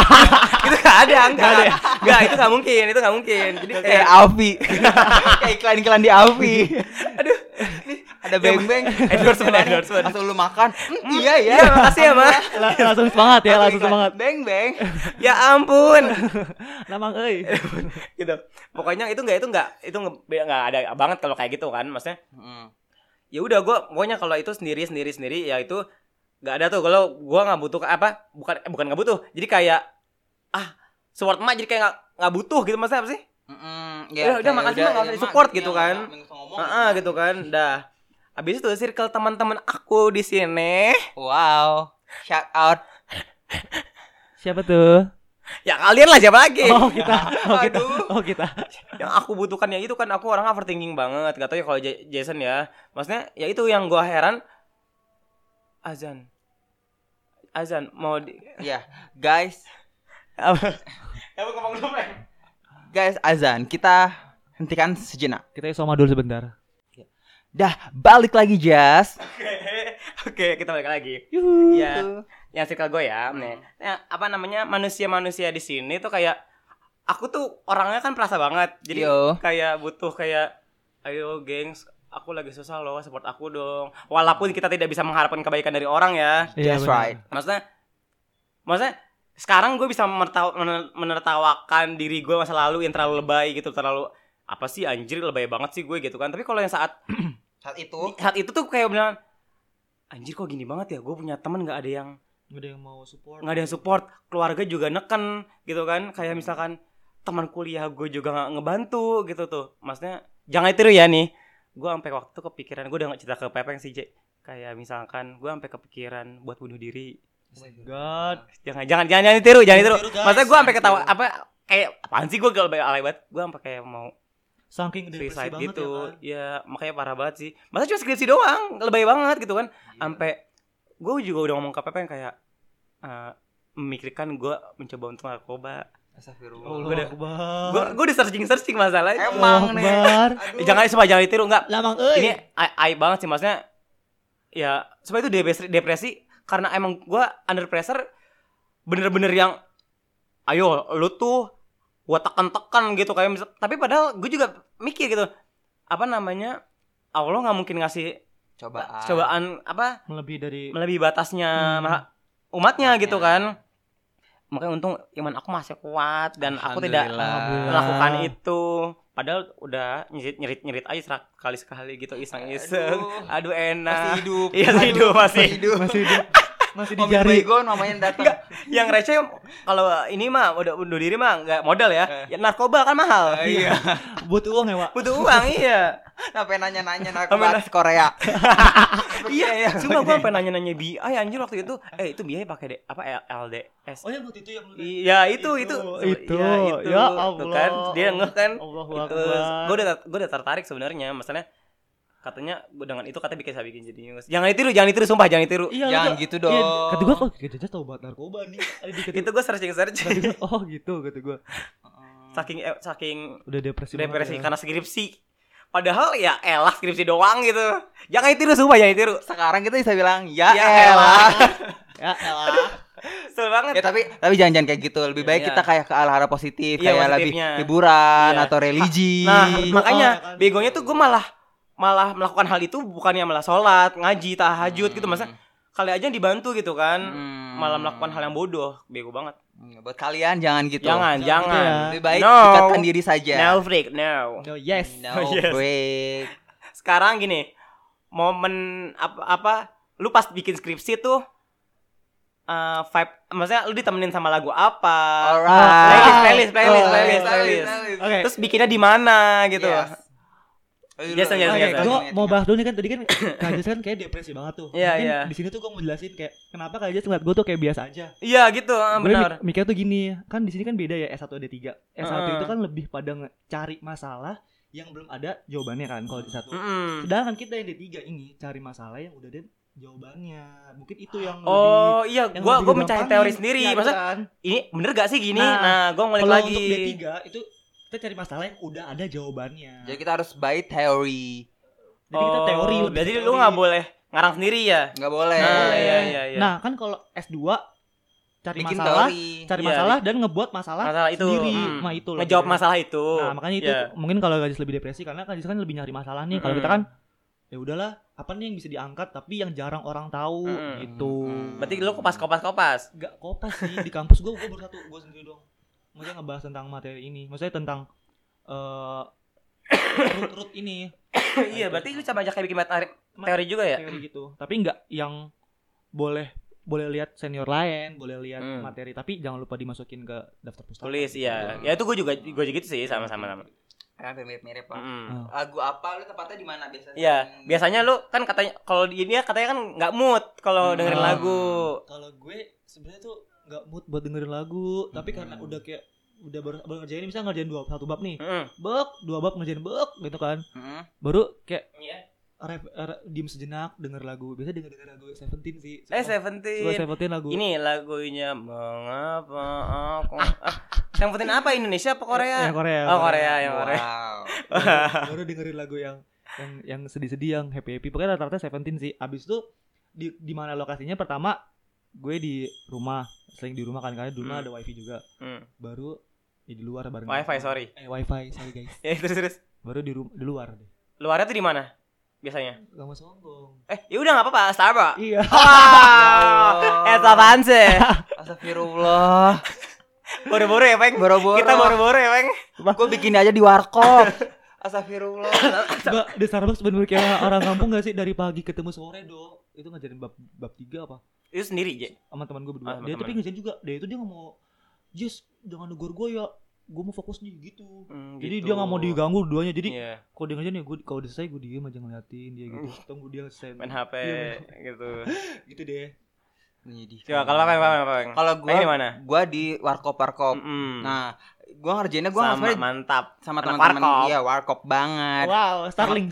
S2: itu gak ada enggak Nggak, itu gak mungkin itu gak mungkin jadi kayak
S1: kayak Avi kayak iklan-iklan di Avi
S2: aduh
S1: ada beng-beng
S2: Endorsement, endorsement.
S1: langsung lu makan Hmm, iya ya
S2: iya makasih ya mah
S4: La- langsung semangat ya langsung
S1: Iklan.
S4: semangat
S1: beng-beng
S2: ya ampun
S4: nah bang eh
S2: gitu pokoknya itu nggak itu nggak itu nggak nggak ada banget kalau kayak gitu kan maksudnya
S1: Hmm.
S2: ya udah gue pokoknya kalau itu sendiri sendiri sendiri ya itu nggak ada tuh kalau gue nggak butuh ke- apa bukan eh, bukan nggak butuh jadi kayak ah support emak jadi kayak nggak nggak butuh gitu maksudnya apa sih
S1: Mm-mm,
S2: Udah,
S1: ya,
S2: udah,
S1: kayak
S2: makasih, Mak, nggak usah
S1: ya, Mak,
S2: di-support
S1: gini
S2: gitu
S1: ya,
S2: kan.
S1: nggak usah ngomong.
S2: Heeh, gitu kan dah habis itu circle teman-teman aku di sini
S1: wow shout out
S4: siapa tuh
S2: ya kalian lah siapa lagi
S4: oh kita oh kita
S1: Aduh.
S4: oh kita
S2: yang aku butuhkan ya itu kan aku orang overthinking banget gak tau ya kalau Ja- Jason ya maksudnya ya itu yang gue heran azan azan mau di...
S1: ya guys
S2: apa Emang Ya, ngomong dulu Bang?
S1: guys azan kita hentikan sejenak
S4: kita isoma dulu sebentar
S1: Dah, balik lagi Jas.
S2: Oke, oke kita balik lagi.
S1: Yuhu.
S2: Iya. Yang circle gue ya, nih. Nah, apa namanya manusia-manusia di sini tuh kayak aku tuh orangnya kan perasa banget. Jadi
S1: Yo.
S2: kayak butuh kayak ayo gengs aku lagi susah loh support aku dong walaupun kita tidak bisa mengharapkan kebaikan dari orang ya
S1: That's
S4: Iya, benar.
S1: right.
S2: maksudnya maksudnya sekarang gue bisa menertaw- mener- menertawakan diri gue masa lalu yang terlalu lebay gitu terlalu apa sih anjir lebay banget sih gue gitu kan tapi kalau yang saat
S1: Saat itu
S2: saat itu tuh kayak beneran anjir kok gini banget ya gue punya teman nggak ada yang
S4: Nggak ada yang mau support.
S2: nggak ada yang support keluarga juga neken gitu kan kayak misalkan teman kuliah gue juga nggak ngebantu gitu tuh maksudnya jangan itu ya nih gue sampai waktu itu kepikiran gue udah nggak cerita ke Pepeng sih J kayak misalkan gue sampai kepikiran buat bunuh diri
S4: Oh my god.
S2: jangan jangan jangan, jangan ditiru jangan ditiru
S3: Ditiru, guys,
S2: Ya, maksudnya gue sampai
S3: jangan
S2: ketawa
S3: ditiru.
S2: apa kayak apaan sih gue gak alay banget gue sampai kayak mau
S4: Saking depresi
S2: suicide
S4: banget
S2: gitu
S4: ya kan.
S2: ya, makanya parah banget sih masa cuma skripsi doang lebay banget gitu kan
S4: Iya.
S2: sampai gue juga udah ngomong ke Pepe yang kayak eh, memikirkan gue mencoba untuk narkoba Gua
S4: Allah
S2: udah-
S4: Akbar.
S2: gue gue udah searching searching masalahnya
S4: Allah
S1: Emang nih.
S4: Akbar.
S2: Eh, jangan semua jangan ditiru enggak
S4: Lamang euy.
S2: ini ai- aib banget sih maksudnya ya sebab itu depresi, depresi karena emang gue under pressure bener-bener yang ayo lu tuh gue tekan-tekan gitu kayak misal- tapi padahal gue juga mikir gitu apa namanya Allah nggak mungkin ngasih
S1: cobaan.
S2: cobaan apa
S4: melebihi dari
S2: melebihi batasnya
S4: Hmm.
S2: ma- umatnya
S1: Umatnya.
S2: gitu kan makanya untung iman aku masih kuat dan aku tidak
S1: Alhamdulillah.
S2: melakukan itu padahal udah nyerit nyerit nyerit aja serak- sekali sekali gitu iseng iseng aduh,
S1: Masih
S2: enak
S1: hidup.
S2: Nah. Iya, masih
S1: Aduh,
S2: hidup, masih.
S4: masih di masih di
S1: Om
S4: jari.
S1: Bego namanya datang.
S2: yang receh kalau ini mah udah undur diri mah nggak modal ya. ya narkoba kan mahal
S4: Eh,
S1: Iya.
S4: Butuh uang ya, Wak.
S2: butuh uang iya
S1: Sampai nanya-nanya
S2: Sampai
S1: narkoba Korea.
S2: iya iya cuma gua sampai nanya nanya bi ah anjir waktu itu eh itu biaya pakai de- apa L- LDS
S3: Oh ya buat itu yang lu lihat.
S2: Iya itu itu
S4: itu.
S2: Iya,
S4: Ya
S2: Tuh
S4: Allah.
S2: kan dia ngeh kan
S4: Allahu
S2: itu
S4: Akbar.
S2: gue udah gue udah tertarik sebenarnya maksudnya katanya gua dengan itu katanya bikin saya bikin jadi news jangan ditiru jangan ditiru sumpah jangan ditiru
S4: Iya, lu
S1: Jangan
S4: tuh-
S1: gitu
S4: Iya,
S1: dong.
S4: Kata gua kok jajan tau banget narkoba nih. Ada dikit
S2: itu gue searching search
S4: Kata gua, oh gitu kata gua.
S2: saking eh, saking
S4: Udah depresi banget
S2: depresi kan-
S4: ya.
S2: karena skripsi padahal ya elah skripsi doang gitu jangan ditiru sumpah jangan ditiru
S1: Sekarang kita bisa bilang ya,
S2: Ya
S1: elah.
S4: Ya elah.
S2: Seru banget
S1: ya tapi tapi jangan-jangan kayak gitu. Lebih baik
S2: Iya.
S1: kita kayak ke arah positif,
S2: Iya,
S1: kayak lebih
S2: positifnya.
S1: hiburan
S2: Iya.
S1: atau religi.
S2: Nah, makanya
S1: Oh,
S4: ya kan?
S2: begonya tuh gue malah malah melakukan hal itu bukannya malah sholat, ngaji, tahajud gitu masa kali aja dibantu gitu kan.
S1: Hmm.
S2: Malah melakukan hal yang bodoh, bego banget.
S1: Hmm, Buat kalian jangan gitu. Iya.
S2: Jangan, jangan.
S4: gitu
S1: Lebih baik
S2: No.
S1: dekatkan diri saja.
S2: No freak, no.
S4: No, yes.
S1: No
S2: Oh, yes.
S1: break.
S2: Sekarang gini, momen apa apa lu pas bikin skripsi tuh eh vibe maksudnya lu ditemenin sama lagu apa?
S1: Alright.
S2: Uh,
S1: Oh.
S2: Playlist, playlist, playlist, playlist,
S1: Playlist,
S2: Oh, playlist.
S1: playlist.
S4: Oke.
S2: Terus bikinnya di mana gitu.
S1: Yes.
S2: Yes, yes,
S4: Oke,
S2: yes, yes.
S4: gua mau bahas dulu nih kan tadi kan Kak Jas kan kayak depresi banget tuh.
S2: Iya,
S4: Mungkin
S2: iya.
S4: Di sini tuh gua mau jelasin kayak kenapa Kak Jas ngeliat gua tuh kayak biasa aja.
S2: Iya gitu, eh,
S4: Gue
S2: benar. Ah,
S4: mik- mikir tuh gini, kan di sini kan beda ya S1 D3. S1
S2: Heeh.
S4: itu kan lebih pada nge- cari masalah yang belum ada jawabannya kan kalau di satu.
S2: Mm-mm.
S4: Sedangkan kita yang D3 ini cari masalah yang udah ada jawabannya. Mungkin itu yang
S2: Oh iya,
S4: lebih yang
S2: gua
S4: lebih
S2: gua mencari
S4: digampangin.
S2: teori sendiri.
S4: Iya,
S2: Masa
S4: kan?
S2: ini bener gak sih gini?
S4: Nah,
S2: Nah, gua ngulik
S4: kalau
S2: lagi.
S4: untuk D3 itu kita cari masalah yang udah ada jawabannya.
S1: Jadi kita harus by theory.
S4: Jadi kita
S2: Oh,
S4: teori lebih
S2: Jadi
S4: teori.
S2: lu gak boleh ngarang sendiri ya?
S1: Nggak boleh.
S2: Nah,
S4: boleh.
S2: iya iya iya.
S4: Nah, kan kalau S2 cari
S1: Bikin
S4: masalah,
S1: teori.
S4: cari
S2: Iya.
S4: masalah dan ngebuat masalah,
S2: masalah itu
S4: sendiri.
S2: mm,
S4: Nah, itu loh.
S2: ngejawab masalah itu.
S4: Nah, makanya itu
S2: Iya. Hmm.
S4: tuh mungkin kalau gadis lebih depresi karena gadis kan lebih nyari masalah nih. Kalau kita kan ya udahlah, apa nih yang bisa diangkat tapi yang jarang orang tahu
S2: Mm-mm.
S4: gitu.
S1: Mm-mm.
S2: Berarti lu kopas kopas kopas.
S4: gak kopas sih di kampus gue gue bersatu gue sendiri doang. Maksudnya ngebahas tentang materi ini, maksudnya tentang eh rut-rut ini
S2: iya, berarti lu sama aja kayak bikin materi teori juga ya?
S4: teori gitu. Tapi nggak yang boleh boleh lihat senior lain, boleh lihat
S2: Hmm.
S4: materi, tapi jangan lupa dimasukin ke daftar pustaka. gitu.
S2: Tulis iya. Ya itu gue juga gue juga gitu sih sama-sama sama.
S1: Kan mirip-mirip lah.
S2: Mm.
S1: Lagu apa lu tempatnya di mana biasanya?
S2: Iya, biasanya lu kan katanya kalau di dia katanya kan nggak mood kalau
S1: Hmm.
S2: dengerin lagu.
S4: kalau gue sebenarnya tuh nggak mood buat dengerin lagu tapi karena udah kayak udah baru, baru ngerjain misalnya ngerjain dua satu bab nih
S2: Mm.
S4: bek dua bab ngerjain bek gitu kan
S1: Heeh.
S4: baru kayak
S2: Iya.
S4: ref- er, diem sejenak denger lagu biasa denger denger lagu Seventeen
S2: Eh,
S4: sih Suka- suka
S2: Seventeen.
S4: Seventeen lagu
S2: Ini lagunya mengapa aku ah, yang
S4: Eh,
S2: penting apa Indonesia apa Korea? ya,
S4: yang Iya, Korea
S2: Oh Korea yang Korea.
S1: Wow.
S4: baru, baru dengerin lagu yang yang yang sedih-sedih yang happy happy pokoknya rata-rata Seventeen sih abis itu di di mana lokasinya pertama gue di rumah sering di rumah kan karena di rumah
S2: Hmm.
S4: ada wifi juga
S2: Hmm.
S4: baru ya di luar bareng
S2: Wifi sorry.
S4: eh wifi sorry guys
S2: Ya terus terus.
S4: baru di rum- di luar deh
S2: Luarnya tuh di mana? Biasanya.
S4: gak mau sombong
S2: Eh, ya udah nggak apa-apa, Starbucks.
S4: iya
S2: Wow. Eh, apaan sih?
S1: Ya Astagfirullah.
S2: Boro-boro ya, Peng.
S1: Boro-boro.
S2: Kita boro-boro ya, Peng.
S1: Gue bikin aja di warkop. Astagfirullah.
S4: Mbak, di Starbucks bener kayak orang kampung gak sih dari pagi ketemu sore do itu ngajarin bab bab tiga apa
S2: Itu sendiri, Je.
S4: sama teman gue
S2: Ah,
S4: berdua
S2: sama
S4: dia
S2: teman.
S4: tapi ngajarin juga dia itu dia nggak mau Jess jangan negor gue ya gue mau fokus nih gitu
S2: Hmm,
S4: jadi
S2: gitu.
S4: dia nggak mau diganggu duanya jadi
S2: Iya, Uh.
S4: kalau dia ngajarin ya gue kalau udah selesai gue diem aja ngeliatin dia gitu tunggu dia selesai
S2: main HP
S4: Iya, main
S2: gitu.
S4: gitu deh
S2: Coba kalau apa, apa, apa, Peng?
S1: Kalau
S2: Peng di
S1: gue
S2: mana?
S1: gue di warkop warkop.
S2: Mm-mm.
S1: Nah, gue ngerjainnya gue
S2: Hmm. sama
S1: sama,
S2: mantap.
S1: sama
S2: anak
S1: teman-teman
S2: warkop.
S1: iya warkop banget.
S4: wow Starling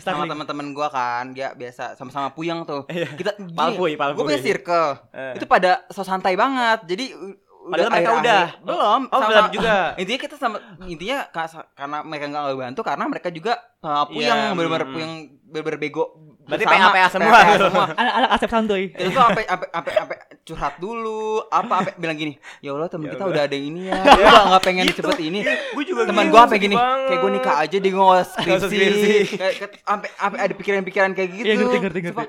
S1: sama, sama
S4: Starling
S1: teman-teman gue kan, dia biasa sama-sama puyeng tuh.
S2: Iya.
S1: Kita
S2: Palpuy, palpuy.
S1: gue punya circle.
S2: Eh.
S1: Itu pada so santai banget. Jadi u-
S2: Padahal mereka
S1: akhir-akhir-
S2: udah.
S1: belum
S2: Oh,
S1: sama-
S2: belum juga.
S1: intinya kita sama intinya ka- karena mereka nggak ngebantu karena mereka juga uh, puyeng
S2: Iya,
S1: bener-bener
S2: mm.
S1: puyeng bener-bener bego
S2: Berarti
S1: bersama,
S2: PA semua. gitu.
S1: PA semua
S4: anak-anak asep santuy
S1: itu tuh apa apa apa apa curhat dulu apa apa bilang gini ya allah temen
S2: Ya
S1: kita
S2: udah.
S1: udah ada yang ini ya gue nggak pengen
S2: Gitu.
S1: cepet ini
S2: Gue juga
S1: teman gue
S2: gitu,
S1: apa
S2: sedih
S1: gini
S2: banget.
S1: kayak gue nikah aja di gue
S2: Nggak usah skripsi.
S1: skripsi Kayak- kayak- sampai sampai ada pikiran-pikiran kayak gitu
S4: Iya, ngerti, ngerti, ngerti.
S1: Sumpah,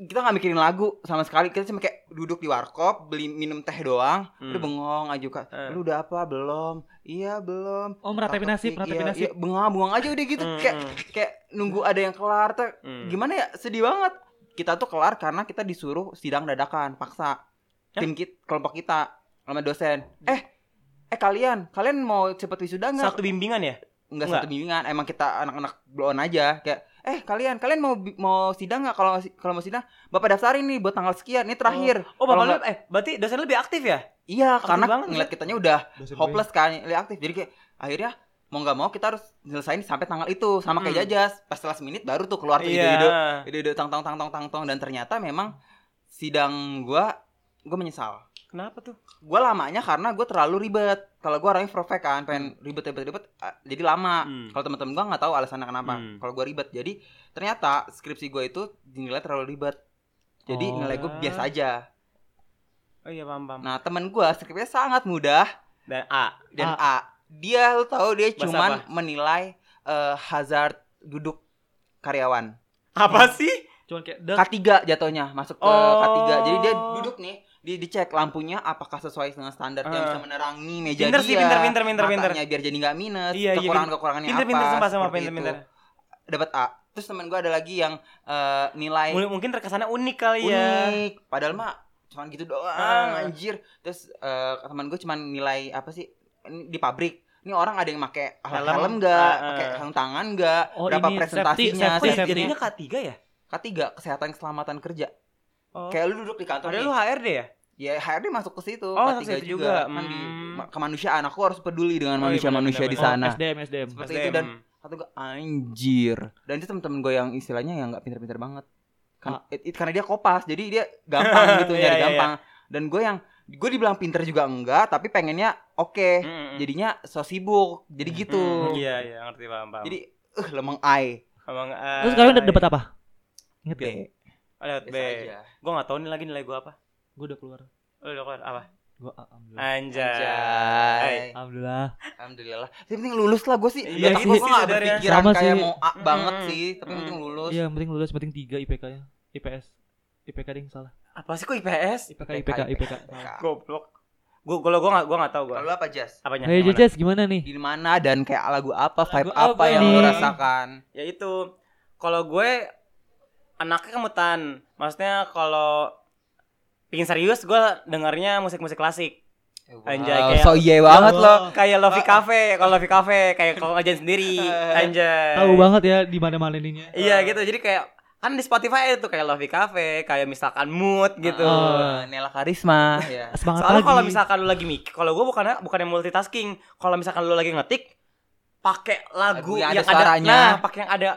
S1: kita nggak mikirin lagu sama sekali kita cuma kayak duduk di warkop beli minum teh doang lu
S2: Hmm.
S1: bengong aja kak
S2: Hmm.
S1: lu udah apa belum iya belum
S4: oh
S1: Takut,
S4: meratapi nasib
S1: iya,
S4: meratapi
S1: iya,
S4: nasib
S1: bengong bengong aja udah gitu
S2: Hmm,
S1: kayak
S2: hmm.
S1: kayak nunggu ada yang kelar tuh
S2: Hmm.
S1: gimana ya sedih banget kita tuh kelar karena kita disuruh sidang dadakan paksa
S2: Ya.
S1: tim kit kelompok kita sama dosen eh eh kalian kalian mau cepet wisuda nggak
S2: Satu bimbingan ya?
S1: nggak
S2: Nggak.
S1: satu bimbingan emang kita anak-anak bloon aja kayak eh kalian kalian mau bi- mau sidang nggak kalau kalau mau sidang bapak daftarin nih buat tanggal sekian ini terakhir
S2: Oh,
S1: Kalau
S2: bapak lu
S1: nggak-
S2: eh berarti dosen lu lebih aktif ya?
S1: iya
S2: aktif
S1: karena
S2: banget,
S1: ngeliat kitanya udah
S4: Dosen gue.
S1: hopeless kan lebih aktif jadi kayak akhirnya mau nggak mau kita harus nyelesain sampai tanggal itu sama kayak
S2: Hmm.
S1: jajas pas last minute baru tuh keluar tuh
S2: Iya.
S1: ide-ide ide-ide tang tang tang tang tang tang dan ternyata memang sidang gua gua menyesal
S2: Kenapa tuh?
S1: gua lamanya karena gua terlalu ribet kalau gua orangnya perfect kan pengen ribet ribet ribet ah, jadi lama
S2: Hmm.
S1: kalau teman-teman gua nggak tahu alasannya kenapa
S2: Hmm.
S1: kalau gua ribet jadi ternyata skripsi gua itu dinilai terlalu ribet jadi
S4: Oh.
S1: nilai gua biasa aja
S2: Oh iya paham paham.
S1: nah teman gua skripsinya sangat mudah
S2: Dan ah, A.
S1: dan A, dia lu tahu dia
S2: Bahasa
S1: cuman menilai eh, hazard duduk karyawan
S2: Apa sih?
S4: cuman kayak dek.
S1: K3 jatuhnya masuk ke
S2: Oh.
S1: K3 jadi dia duduk nih di dicek lampunya apakah sesuai dengan standar yang
S2: Ah.
S1: bisa menerangi meja
S2: Pinter
S1: dia
S2: sih, pinter pinter pinter pinter.
S1: matanya biar jadi nggak minus
S2: Iya, iya,
S1: kekurangan kekurangannya
S2: Pinter
S1: apa
S2: pinter sumpah sama
S1: seperti
S2: pinter
S1: itu.
S2: pinter.
S1: dapat A terus temen gue ada lagi yang eh, nilai
S2: Mungkin mungkin terkesannya unik kali ya.
S1: unik padahal mah cuman gitu doang
S2: Ah.
S1: anjir terus eh, teman gue cuman nilai apa sih ini di pabrik ini orang ada yang pakai helm,
S2: Helm.
S1: helm nggak
S2: Ah, ah.
S1: pakai helm tangan nggak
S4: Oh,
S1: berapa
S4: ini
S1: presentasinya
S4: safety,
S2: Oh,
S4: safety,
S1: safety.
S4: safety.
S2: jadinya K3 ya?
S1: ketiga kesehatan keselamatan kerja
S2: Oh.
S1: kayak lu duduk di kantor
S2: Padahal
S1: nih,
S2: lu HRD ya?
S1: ya HRD masuk ke situ
S2: Oh, masuk
S1: ketiga
S2: situ
S1: juga,
S2: juga.
S1: kan di
S2: Hmm.
S1: ma- kemanusiaan aku harus peduli dengan
S2: Oh, iya,
S1: manusia-manusia di
S2: benar-benar.
S1: sana
S4: Oh, SDM SDM
S1: Seperti itu, dan-
S2: Oh,
S1: satu gue anjir dan itu temen-temen gue yang istilahnya yang nggak pinter-pinter banget kan it- it- karena dia kopas jadi dia gampang gitu
S2: Ah. Iya,
S1: nyari
S2: iya,
S1: gampang dan gue yang gue dibilang pinter juga enggak tapi pengennya oke
S2: eh, jadi
S1: jadinya so sibuk jadi gitu
S2: Hmm. Iya iya ngerti paham paham.
S1: jadi eh lemeng ai
S2: Emang,
S4: terus kalian udah dapat apa inget
S1: B
S4: gak
S2: Oh, dapat B.
S1: biasa aja
S2: Gue nggak tahu nih lagi nilai gue apa.
S4: gue udah keluar
S2: Lu udah keluar apa?
S4: gue alhamdulillah
S1: Hmm. Eh. Anjay.
S2: Anjay.
S4: alhamdulillah
S1: alhamdulillah Tapi penting lulus lah gue sih
S2: Iya
S1: Otak
S4: sih,
S1: gue nggak
S2: sebenarnya. Hmm.
S1: berpikiran
S4: Sama
S1: kayak
S4: sih.
S1: mau A banget
S2: Mm-mm.
S1: sih tapi
S2: Mm-mm.
S1: penting lulus
S4: Iya, yang penting lulus, yang penting 3 IPK-nya. IPS. IPK ding salah.
S2: Apa sih kok IPS?
S4: IPK IPK IPK.
S2: Nah, Goblok. Gue kalau gue nggak gue nggak tahu gue.
S1: Kalau lu apa Jas?
S2: Apanya?
S4: Hey
S2: Yang mana?
S4: Jejes gimana nih?
S1: Di mana dan kayak lagu apa, vibe
S4: Lagu
S1: apa,
S4: apa
S1: yang lu
S4: nih?
S1: rasakan?
S2: ya itu kalau gue anaknya kemetan maksudnya kalau pingin serius gue dengarnya musik-musik klasik Anjay,
S1: Ya, Wow,
S2: kayak-
S1: so iya banget
S4: Wow.
S1: lo.
S2: kayak Lofi Cafe kalau Lofi Cafe kayak kalau ngajain sendiri anjay
S4: Tahu banget ya di mana-mana ininya.
S1: Eh.
S2: iya gitu jadi kayak kan di Spotify itu kayak Lofi Cafe kayak misalkan mood gitu
S1: Eh, Nela Karisma. Iya.
S4: Semangat
S2: Soalnya
S4: lagi.
S2: kalau misalkan lu lagi mik, kalau gue bukan bukan yang multitasking. Kalau misalkan lu lagi ngetik, pakai
S1: Lagu
S2: lagu,
S1: yang
S2: yang,
S1: ada
S2: ada,
S1: suaranya.
S2: nah, pakai yang ada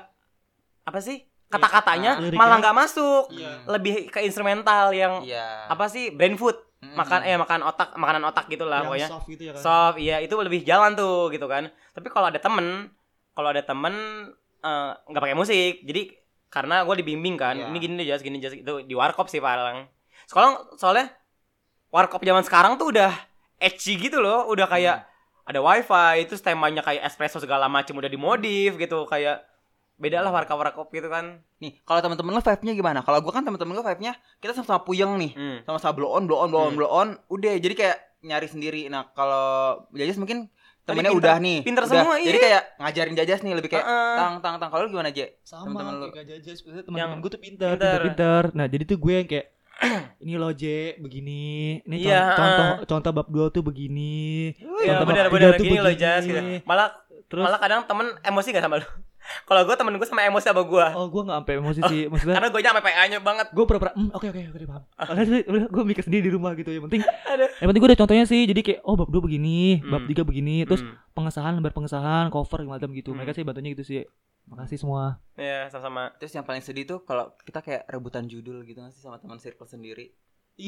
S2: apa sih? Kata-katanya
S4: Liriknya.
S2: malah nggak masuk.
S1: Iya.
S2: Lebih ke instrumental yang
S1: Iya. Hmm,
S2: apa sih? Brain food,
S1: Mm-mm.
S2: makan eh makan otak, makanan otak gitulah pokoknya.
S4: yang soft gitu ya kan.
S2: Soft, iya itu lebih jalan tuh gitu kan. Tapi kalau ada temen, kalau ada temen eh, nggak pakai musik jadi karena gue dibimbing kan
S1: Iya.
S2: ini gini deh jas gini jas itu di warkop sih paling sekarang soalnya warkop zaman sekarang tuh udah edgy gitu loh udah kayak ada wifi terus temanya kayak espresso segala macem udah dimodif gitu kayak beda lah warkop warkop gitu kan
S1: Nih, kalau teman-teman lo vibe-nya gimana? Kalau gua kan teman-teman gue vibe-nya kita sama-sama puyeng nih.
S2: Hmm.
S1: Sama-sama blow on, blow on, blow on,
S2: Hmm.
S1: blow on. Udah, jadi kayak nyari sendiri. Nah, kalau Jajas mungkin temennya
S2: pinter-
S1: udah nih.
S2: pinter
S1: udah.
S2: semua,
S1: Jadi
S2: iya.
S1: kayak ngajarin Jajas nih lebih kayak
S2: Heeh.
S1: tang tang tang. Kalau lu gimana, Je?
S3: sama
S1: Temen-temen lu.
S3: kayak gak jajas Maksudnya temen-temen
S2: Yang
S3: gue tuh pinter
S4: pinter,
S2: Pinter.
S4: pinter, Nah, jadi tuh gue yang kayak ini loh J, begini. Ini con-
S2: Iya,
S4: contoh contoh bab 2 tuh begini.
S2: ya
S4: Contoh bab
S2: bener
S4: tiga
S2: bener
S4: Iya, tuh
S2: gini loh
S4: begini.
S2: jas gitu. malah
S4: Terus
S2: malah kadang temen emosi gak sama lu kalau gue temen gue sama emosi sama gue
S4: oh, gue gak sampai emosi sih. Maksudnya
S2: karena gue nyampe PA nya banget
S4: gue pura-pura hmm, oke oke oke paham. Karena gue mikir sendiri di rumah gitu. Yang penting
S2: Aduh.
S4: yang penting gue ada contohnya sih. Jadi kayak oh bab 2 begini, bab
S2: Hmm.
S4: 3 begini, terus
S2: Hmm.
S4: pengesahan lembar pengesahan, cover macam gitu.
S2: Hmm.
S4: Mereka sih bantunya gitu sih. Makasih semua.
S2: ya sama-sama
S1: Terus yang paling sedih tuh kalau kita kayak rebutan judul gitu nggak sih sama teman circle sendiri.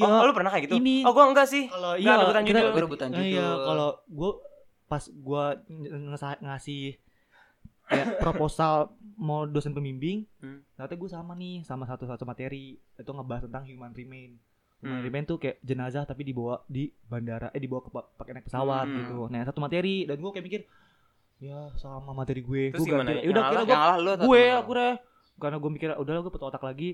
S2: oh,
S3: Iya,
S2: oh, lu pernah kayak gitu
S4: Iya. ini-
S2: oh gue enggak sih
S4: Kalau
S2: Nggak,
S4: iya,
S2: rebutan
S4: kita-
S2: judul.
S1: Gue rebutan
S4: Ah, Iya,
S1: judul.
S4: kalau gue pas gue ngasih kayak proposal mau dosen pembimbing,
S2: Hmm.
S4: ternyata gue sama nih sama satu-satu materi itu ngebahas tentang human remain. Human
S2: Hmm.
S4: remain tuh kayak jenazah tapi dibawa di bandara, eh dibawa ke pa- pakai naik pesawat
S2: Hmm.
S4: gitu. Nah satu materi dan gue kayak mikir, ya sama materi gue.
S2: Terus
S4: Gue ganti.
S2: gimana?
S4: Ya udah
S2: Yang
S4: kira
S2: alah-
S4: gue
S1: yang lah lu atau
S4: gue
S1: temen lu?
S4: aku deh karena gue mikir "Ya udah gue putus otak lagi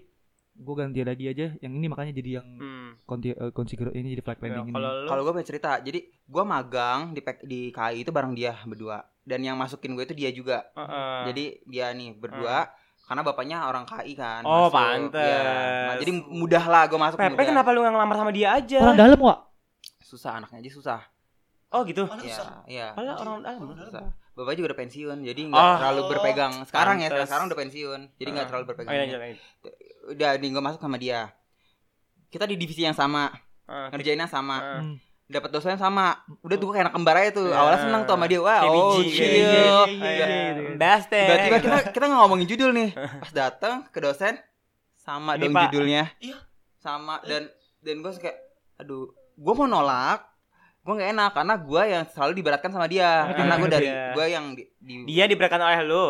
S4: gue ganti lagi aja yang ini makanya jadi yang
S2: hmm.
S4: konti, eh, consider- ini jadi flag
S2: Ya,
S4: landing ini
S2: kalau lu
S1: Kalau gue punya cerita, jadi gue magang di P- di KI itu bareng dia berdua. Dan yang masukin gue itu dia juga.
S2: Heeh.
S1: Jadi dia nih berdua karena bapaknya orang KI kan.
S2: Ah. Oh,
S1: masuk.
S2: pantes.
S1: Iya. Nah, jadi mudah lah gue masuk.
S2: Pepe
S1: mudah.
S2: kenapa lu nggak ngelamar sama dia aja
S4: orang dalam wak
S1: Susah anaknya aja susah.
S2: oh gitu
S3: Mana
S1: Iya,
S3: susah
S1: iya.
S2: Malah orang dalam.
S1: Susah. Bapak juga udah pensiun, jadi nggak
S2: Oh.
S1: terlalu berpegang. Sekarang ya,
S2: Pantes.
S1: sekarang udah pensiun, jadi nggak
S2: Ah.
S1: terlalu berpegang.
S2: Ayo, lanjut, lanjut.
S1: Udah, nih gue masuk sama dia. Kita di divisi yang sama,
S2: Ah,
S1: ngerjainnya sama,
S2: ah.
S4: Hmm.
S1: dapat dosen yang sama. Udah tuh gue kayak anak kembar aja tuh.
S2: Ya.
S1: Awalnya seneng tuh sama dia, wah,
S2: Kayak
S1: oh
S2: biji,
S1: chill.
S2: kayak biji.
S4: Iya,
S2: Iya,
S4: gitu.
S2: das teh.
S1: Tiba-tiba kita kita nggak ngomongin judul nih. Pas datang ke dosen sama
S2: Eh. Ini,
S1: dong
S2: Pak. Eh.
S1: judulnya.
S3: Iya.
S1: Sama dan dan gue kayak aduh, gue mau nolak. Gue nggak enak karena gue yang selalu diberatkan sama dia.
S2: Ngerti,
S1: Karena gue
S2: ngerti,
S1: dari
S2: iya.
S1: gue yang di, di
S2: dia diberikan oleh lu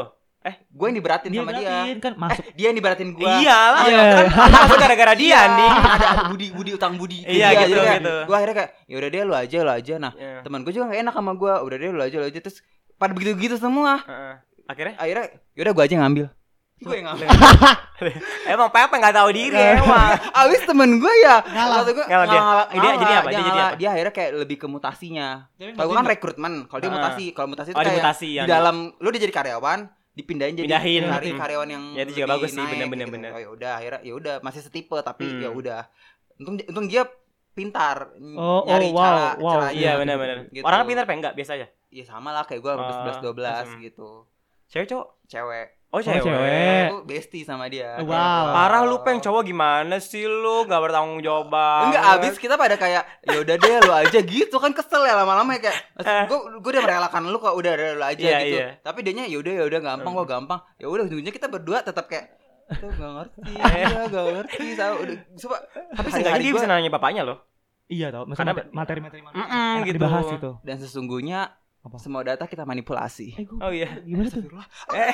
S1: gue yang diberatin
S4: dia
S1: sama dia.
S4: beratin kan masuk
S1: Dia yang diberatin gue.
S2: iya lah
S4: Iya.
S2: kan aku gara-gara
S1: Iya.
S2: dia Andi
S1: ada budi budi utang budi.
S2: Iya, gitu, gitu.
S1: Gue akhirnya kayak ya udah deh lu aja lu aja. Nah,
S2: Iya.
S1: teman gue juga nggak enak sama gue. Udah deh lu aja lu aja terus pada begitu-gitu semua.
S2: Heeh. akhirnya
S1: Akhirnya yaudah gue aja yang ngambil. Gue yang ngambil.
S2: emang Pepe nggak tahu diri Iya, emang
S1: Abis temen gue ya
S4: Ngalah.
S1: Maksud gua,
S2: Ngalah dia.
S1: ngalah,
S2: Eh, dia jadi
S1: ngalah,
S2: apa?
S1: Dia,
S2: Dia jadi
S1: ngalah.
S2: apa? Eh,
S1: Dia akhirnya kayak lebih ke mutasinya Kalau gue kan rekrutmen Kalau dia
S2: Ah.
S1: mutasi Kalau mutasi itu
S2: oh
S1: kayak
S2: dimutasi ya
S1: Di dalam Lu udah jadi karyawan Dipindahin jadi
S2: Pindahin.
S1: cari
S2: Hmm.
S1: karyawan yang
S2: Ya, itu juga
S1: lebih
S2: bagus sih,
S1: naik
S2: bener-bener,
S1: gitu.
S2: bener.
S1: Oh, ya udah akhirnya ya udah masih setipe tapi
S2: Hmm.
S1: ya udah untung untung dia pintar ny-
S4: Oh, oh,
S1: nyari
S4: wow,
S1: cara
S4: wow.
S1: caranya.
S2: iya benar-benar
S1: Gitu.
S2: orangnya pintar apa enggak biasa aja
S1: Iya sama lah kayak gue
S2: Ah,
S1: udah 11 12
S2: hmm.
S1: gitu
S2: cewek cowok
S1: cewek
S2: oh cewek,
S4: cewek. Eh.
S1: Aku bestie sama dia
S4: Wow.
S2: Parah lu peng cowok gimana sih lu gak bertanggung jawab
S1: Enggak
S2: banget.
S1: abis kita pada kayak ya udah deh lu aja gitu kan kesel ya lama-lama ya kayak gue gue udah merelakan lu kok udah udah, lu aja
S2: Eh. Iya,
S1: gitu.
S2: iya.
S1: Tapi dianya ya udah ya udah gampang kok gampang. Ya udah ujungnya kita berdua tetap kayak itu gak
S2: Eh.
S1: ngerti, ya gak ngerti, sama udah coba
S2: Tapi
S1: hari-hari
S2: seenggaknya dia
S1: gua-
S2: bisa nanya bapaknya loh
S4: iya tau
S2: Karena-
S4: karena materi-materi mana
S2: Mm-mm,
S4: enak
S2: gitu.
S4: dibahas gitu
S1: dan sesungguhnya
S4: Apa?
S1: semua data kita manipulasi.
S4: eh, gua,
S2: Oh iya
S4: gimana tuh
S1: Ah,
S2: eh,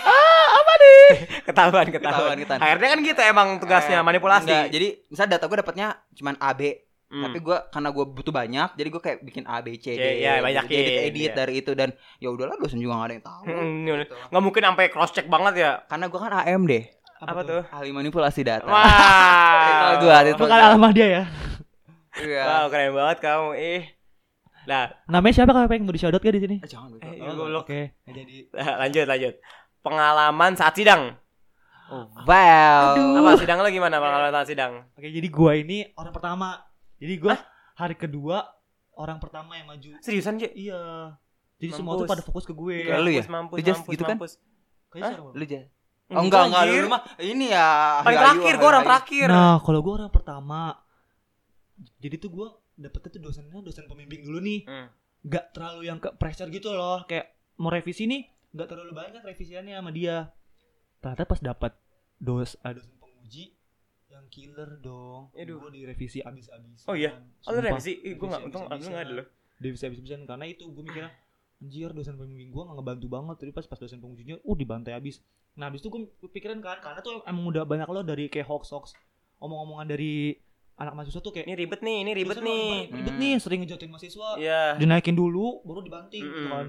S2: apa nih ketahuan ketahuan
S1: Ketahuan, ketahuan.
S2: HRD kan gitu emang tugasnya
S1: Eh,
S2: manipulasi
S1: Enggak, jadi misal data gue dapatnya cuman A B,
S2: Hmm.
S1: tapi gue karena gue butuh banyak, jadi gue kayak bikin A B C D. gitu.
S2: Iya, iya, banyakin,
S1: Jadi kayak edit
S2: iya.
S1: dari itu dan ya udahlah dosen juga gak ada yang tahu.
S2: Hmm, iya,
S1: gitu.
S2: nggak mungkin sampai cross check banget ya
S1: Karena gue kan AM deh.
S2: apa, tuh
S1: ahli manipulasi data. Titel
S2: wah
S1: gua, titel
S4: bukan
S1: gua.
S4: alamah dia ya
S1: Iya.
S2: wow keren banget kamu ih nah
S4: namanya siapa kalau pengen mau di shout out di sini
S1: Eh, Jangan Bego.
S2: eh,
S3: Oh,
S2: goblok.
S4: oke
S3: Nggak jadi
S2: lanjut lanjut pengalaman saat sidang
S1: Oh. Wow.
S2: apa sidang lo gimana pengalaman saat sidang
S4: oke jadi gua ini orang pertama jadi gua hari kedua orang pertama yang maju
S2: seriusan sih
S4: iya jadi semua
S2: Mampus.
S4: tuh pada fokus ke gue
S1: Kayak lu ya?
S2: mampus
S1: Lu just
S2: mampus
S1: gitu kan?
S2: mampus
S4: Kayaknya
S2: Hah?
S4: siapa?
S1: Lu aja. Oh, enggak, enggak, lu lu mah ini ya.
S2: paling
S1: Hayu-hayu,
S2: terakhir gue orang
S1: hayu-hayu.
S2: terakhir
S4: nah kalau gua orang pertama jadi tuh gua dapetnya tuh dosennya dosen pembimbing dulu nih
S2: Hmm.
S4: nggak terlalu yang ke pressure gitu loh kayak mau revisi nih nggak terlalu banyak revisiannya sama dia ternyata pas dapat dos ah, dosen penguji yang killer dong
S2: Aduh.
S4: gue direvisi abis-abisan
S2: Oh iya? Oh lu
S4: Sumpah,
S2: revisi? Ih gue gak, untung lu gak ada lo
S4: direvisi abis-abisan karena itu gue mikirnya anjir dosen pembimbing gua nggak ngebantu banget tadi pas pas dosen pengujinya uh dibantai habis nah habis itu gua pikiran kan karena tuh emang udah banyak lo dari kayak hoax hoax omong-omongan dari anak mahasiswa tuh kayak
S2: Ini ribet nih, ini ribet
S4: dosen lo
S2: nih.
S4: kemarin ribet
S1: Hmm.
S4: nih sering ngejatuhin mahasiswa
S2: Iya.
S4: dinaikin dulu baru dibanting gitu
S2: Mm-mm.
S4: kan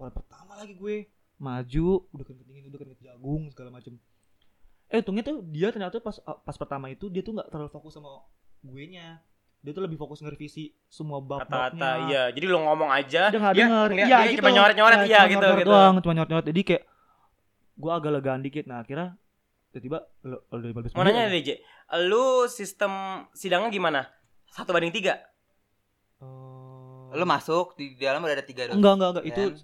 S4: Wah, pertama lagi gue maju udah keringet dingin udah keringet jagung segala macem eh untungnya tuh dia ternyata pas uh, pas pertama itu dia tuh nggak terlalu fokus sama gue nya dia tuh lebih fokus ngerevisi semua bab
S2: Kata-kata iya. Jadi lu ngomong aja.
S4: dia nggak
S2: dia
S4: denger
S2: ngeliat- dia cuma nyoret-nyoret
S4: Ya,
S2: iya
S4: cuma
S2: gitu
S4: nyoret
S2: gitu.
S4: doang cuma nyoret-nyoret jadi kayak gue agak legaan dikit nah akhirnya tiba-tiba lo lo dari balas
S2: Mau nanya nih, DJ. Lu sistem sidangnya gimana? Satu banding tiga?
S1: Lu masuk di dalam udah ada tiga dosen.
S4: enggak enggak enggak itu
S1: Dan-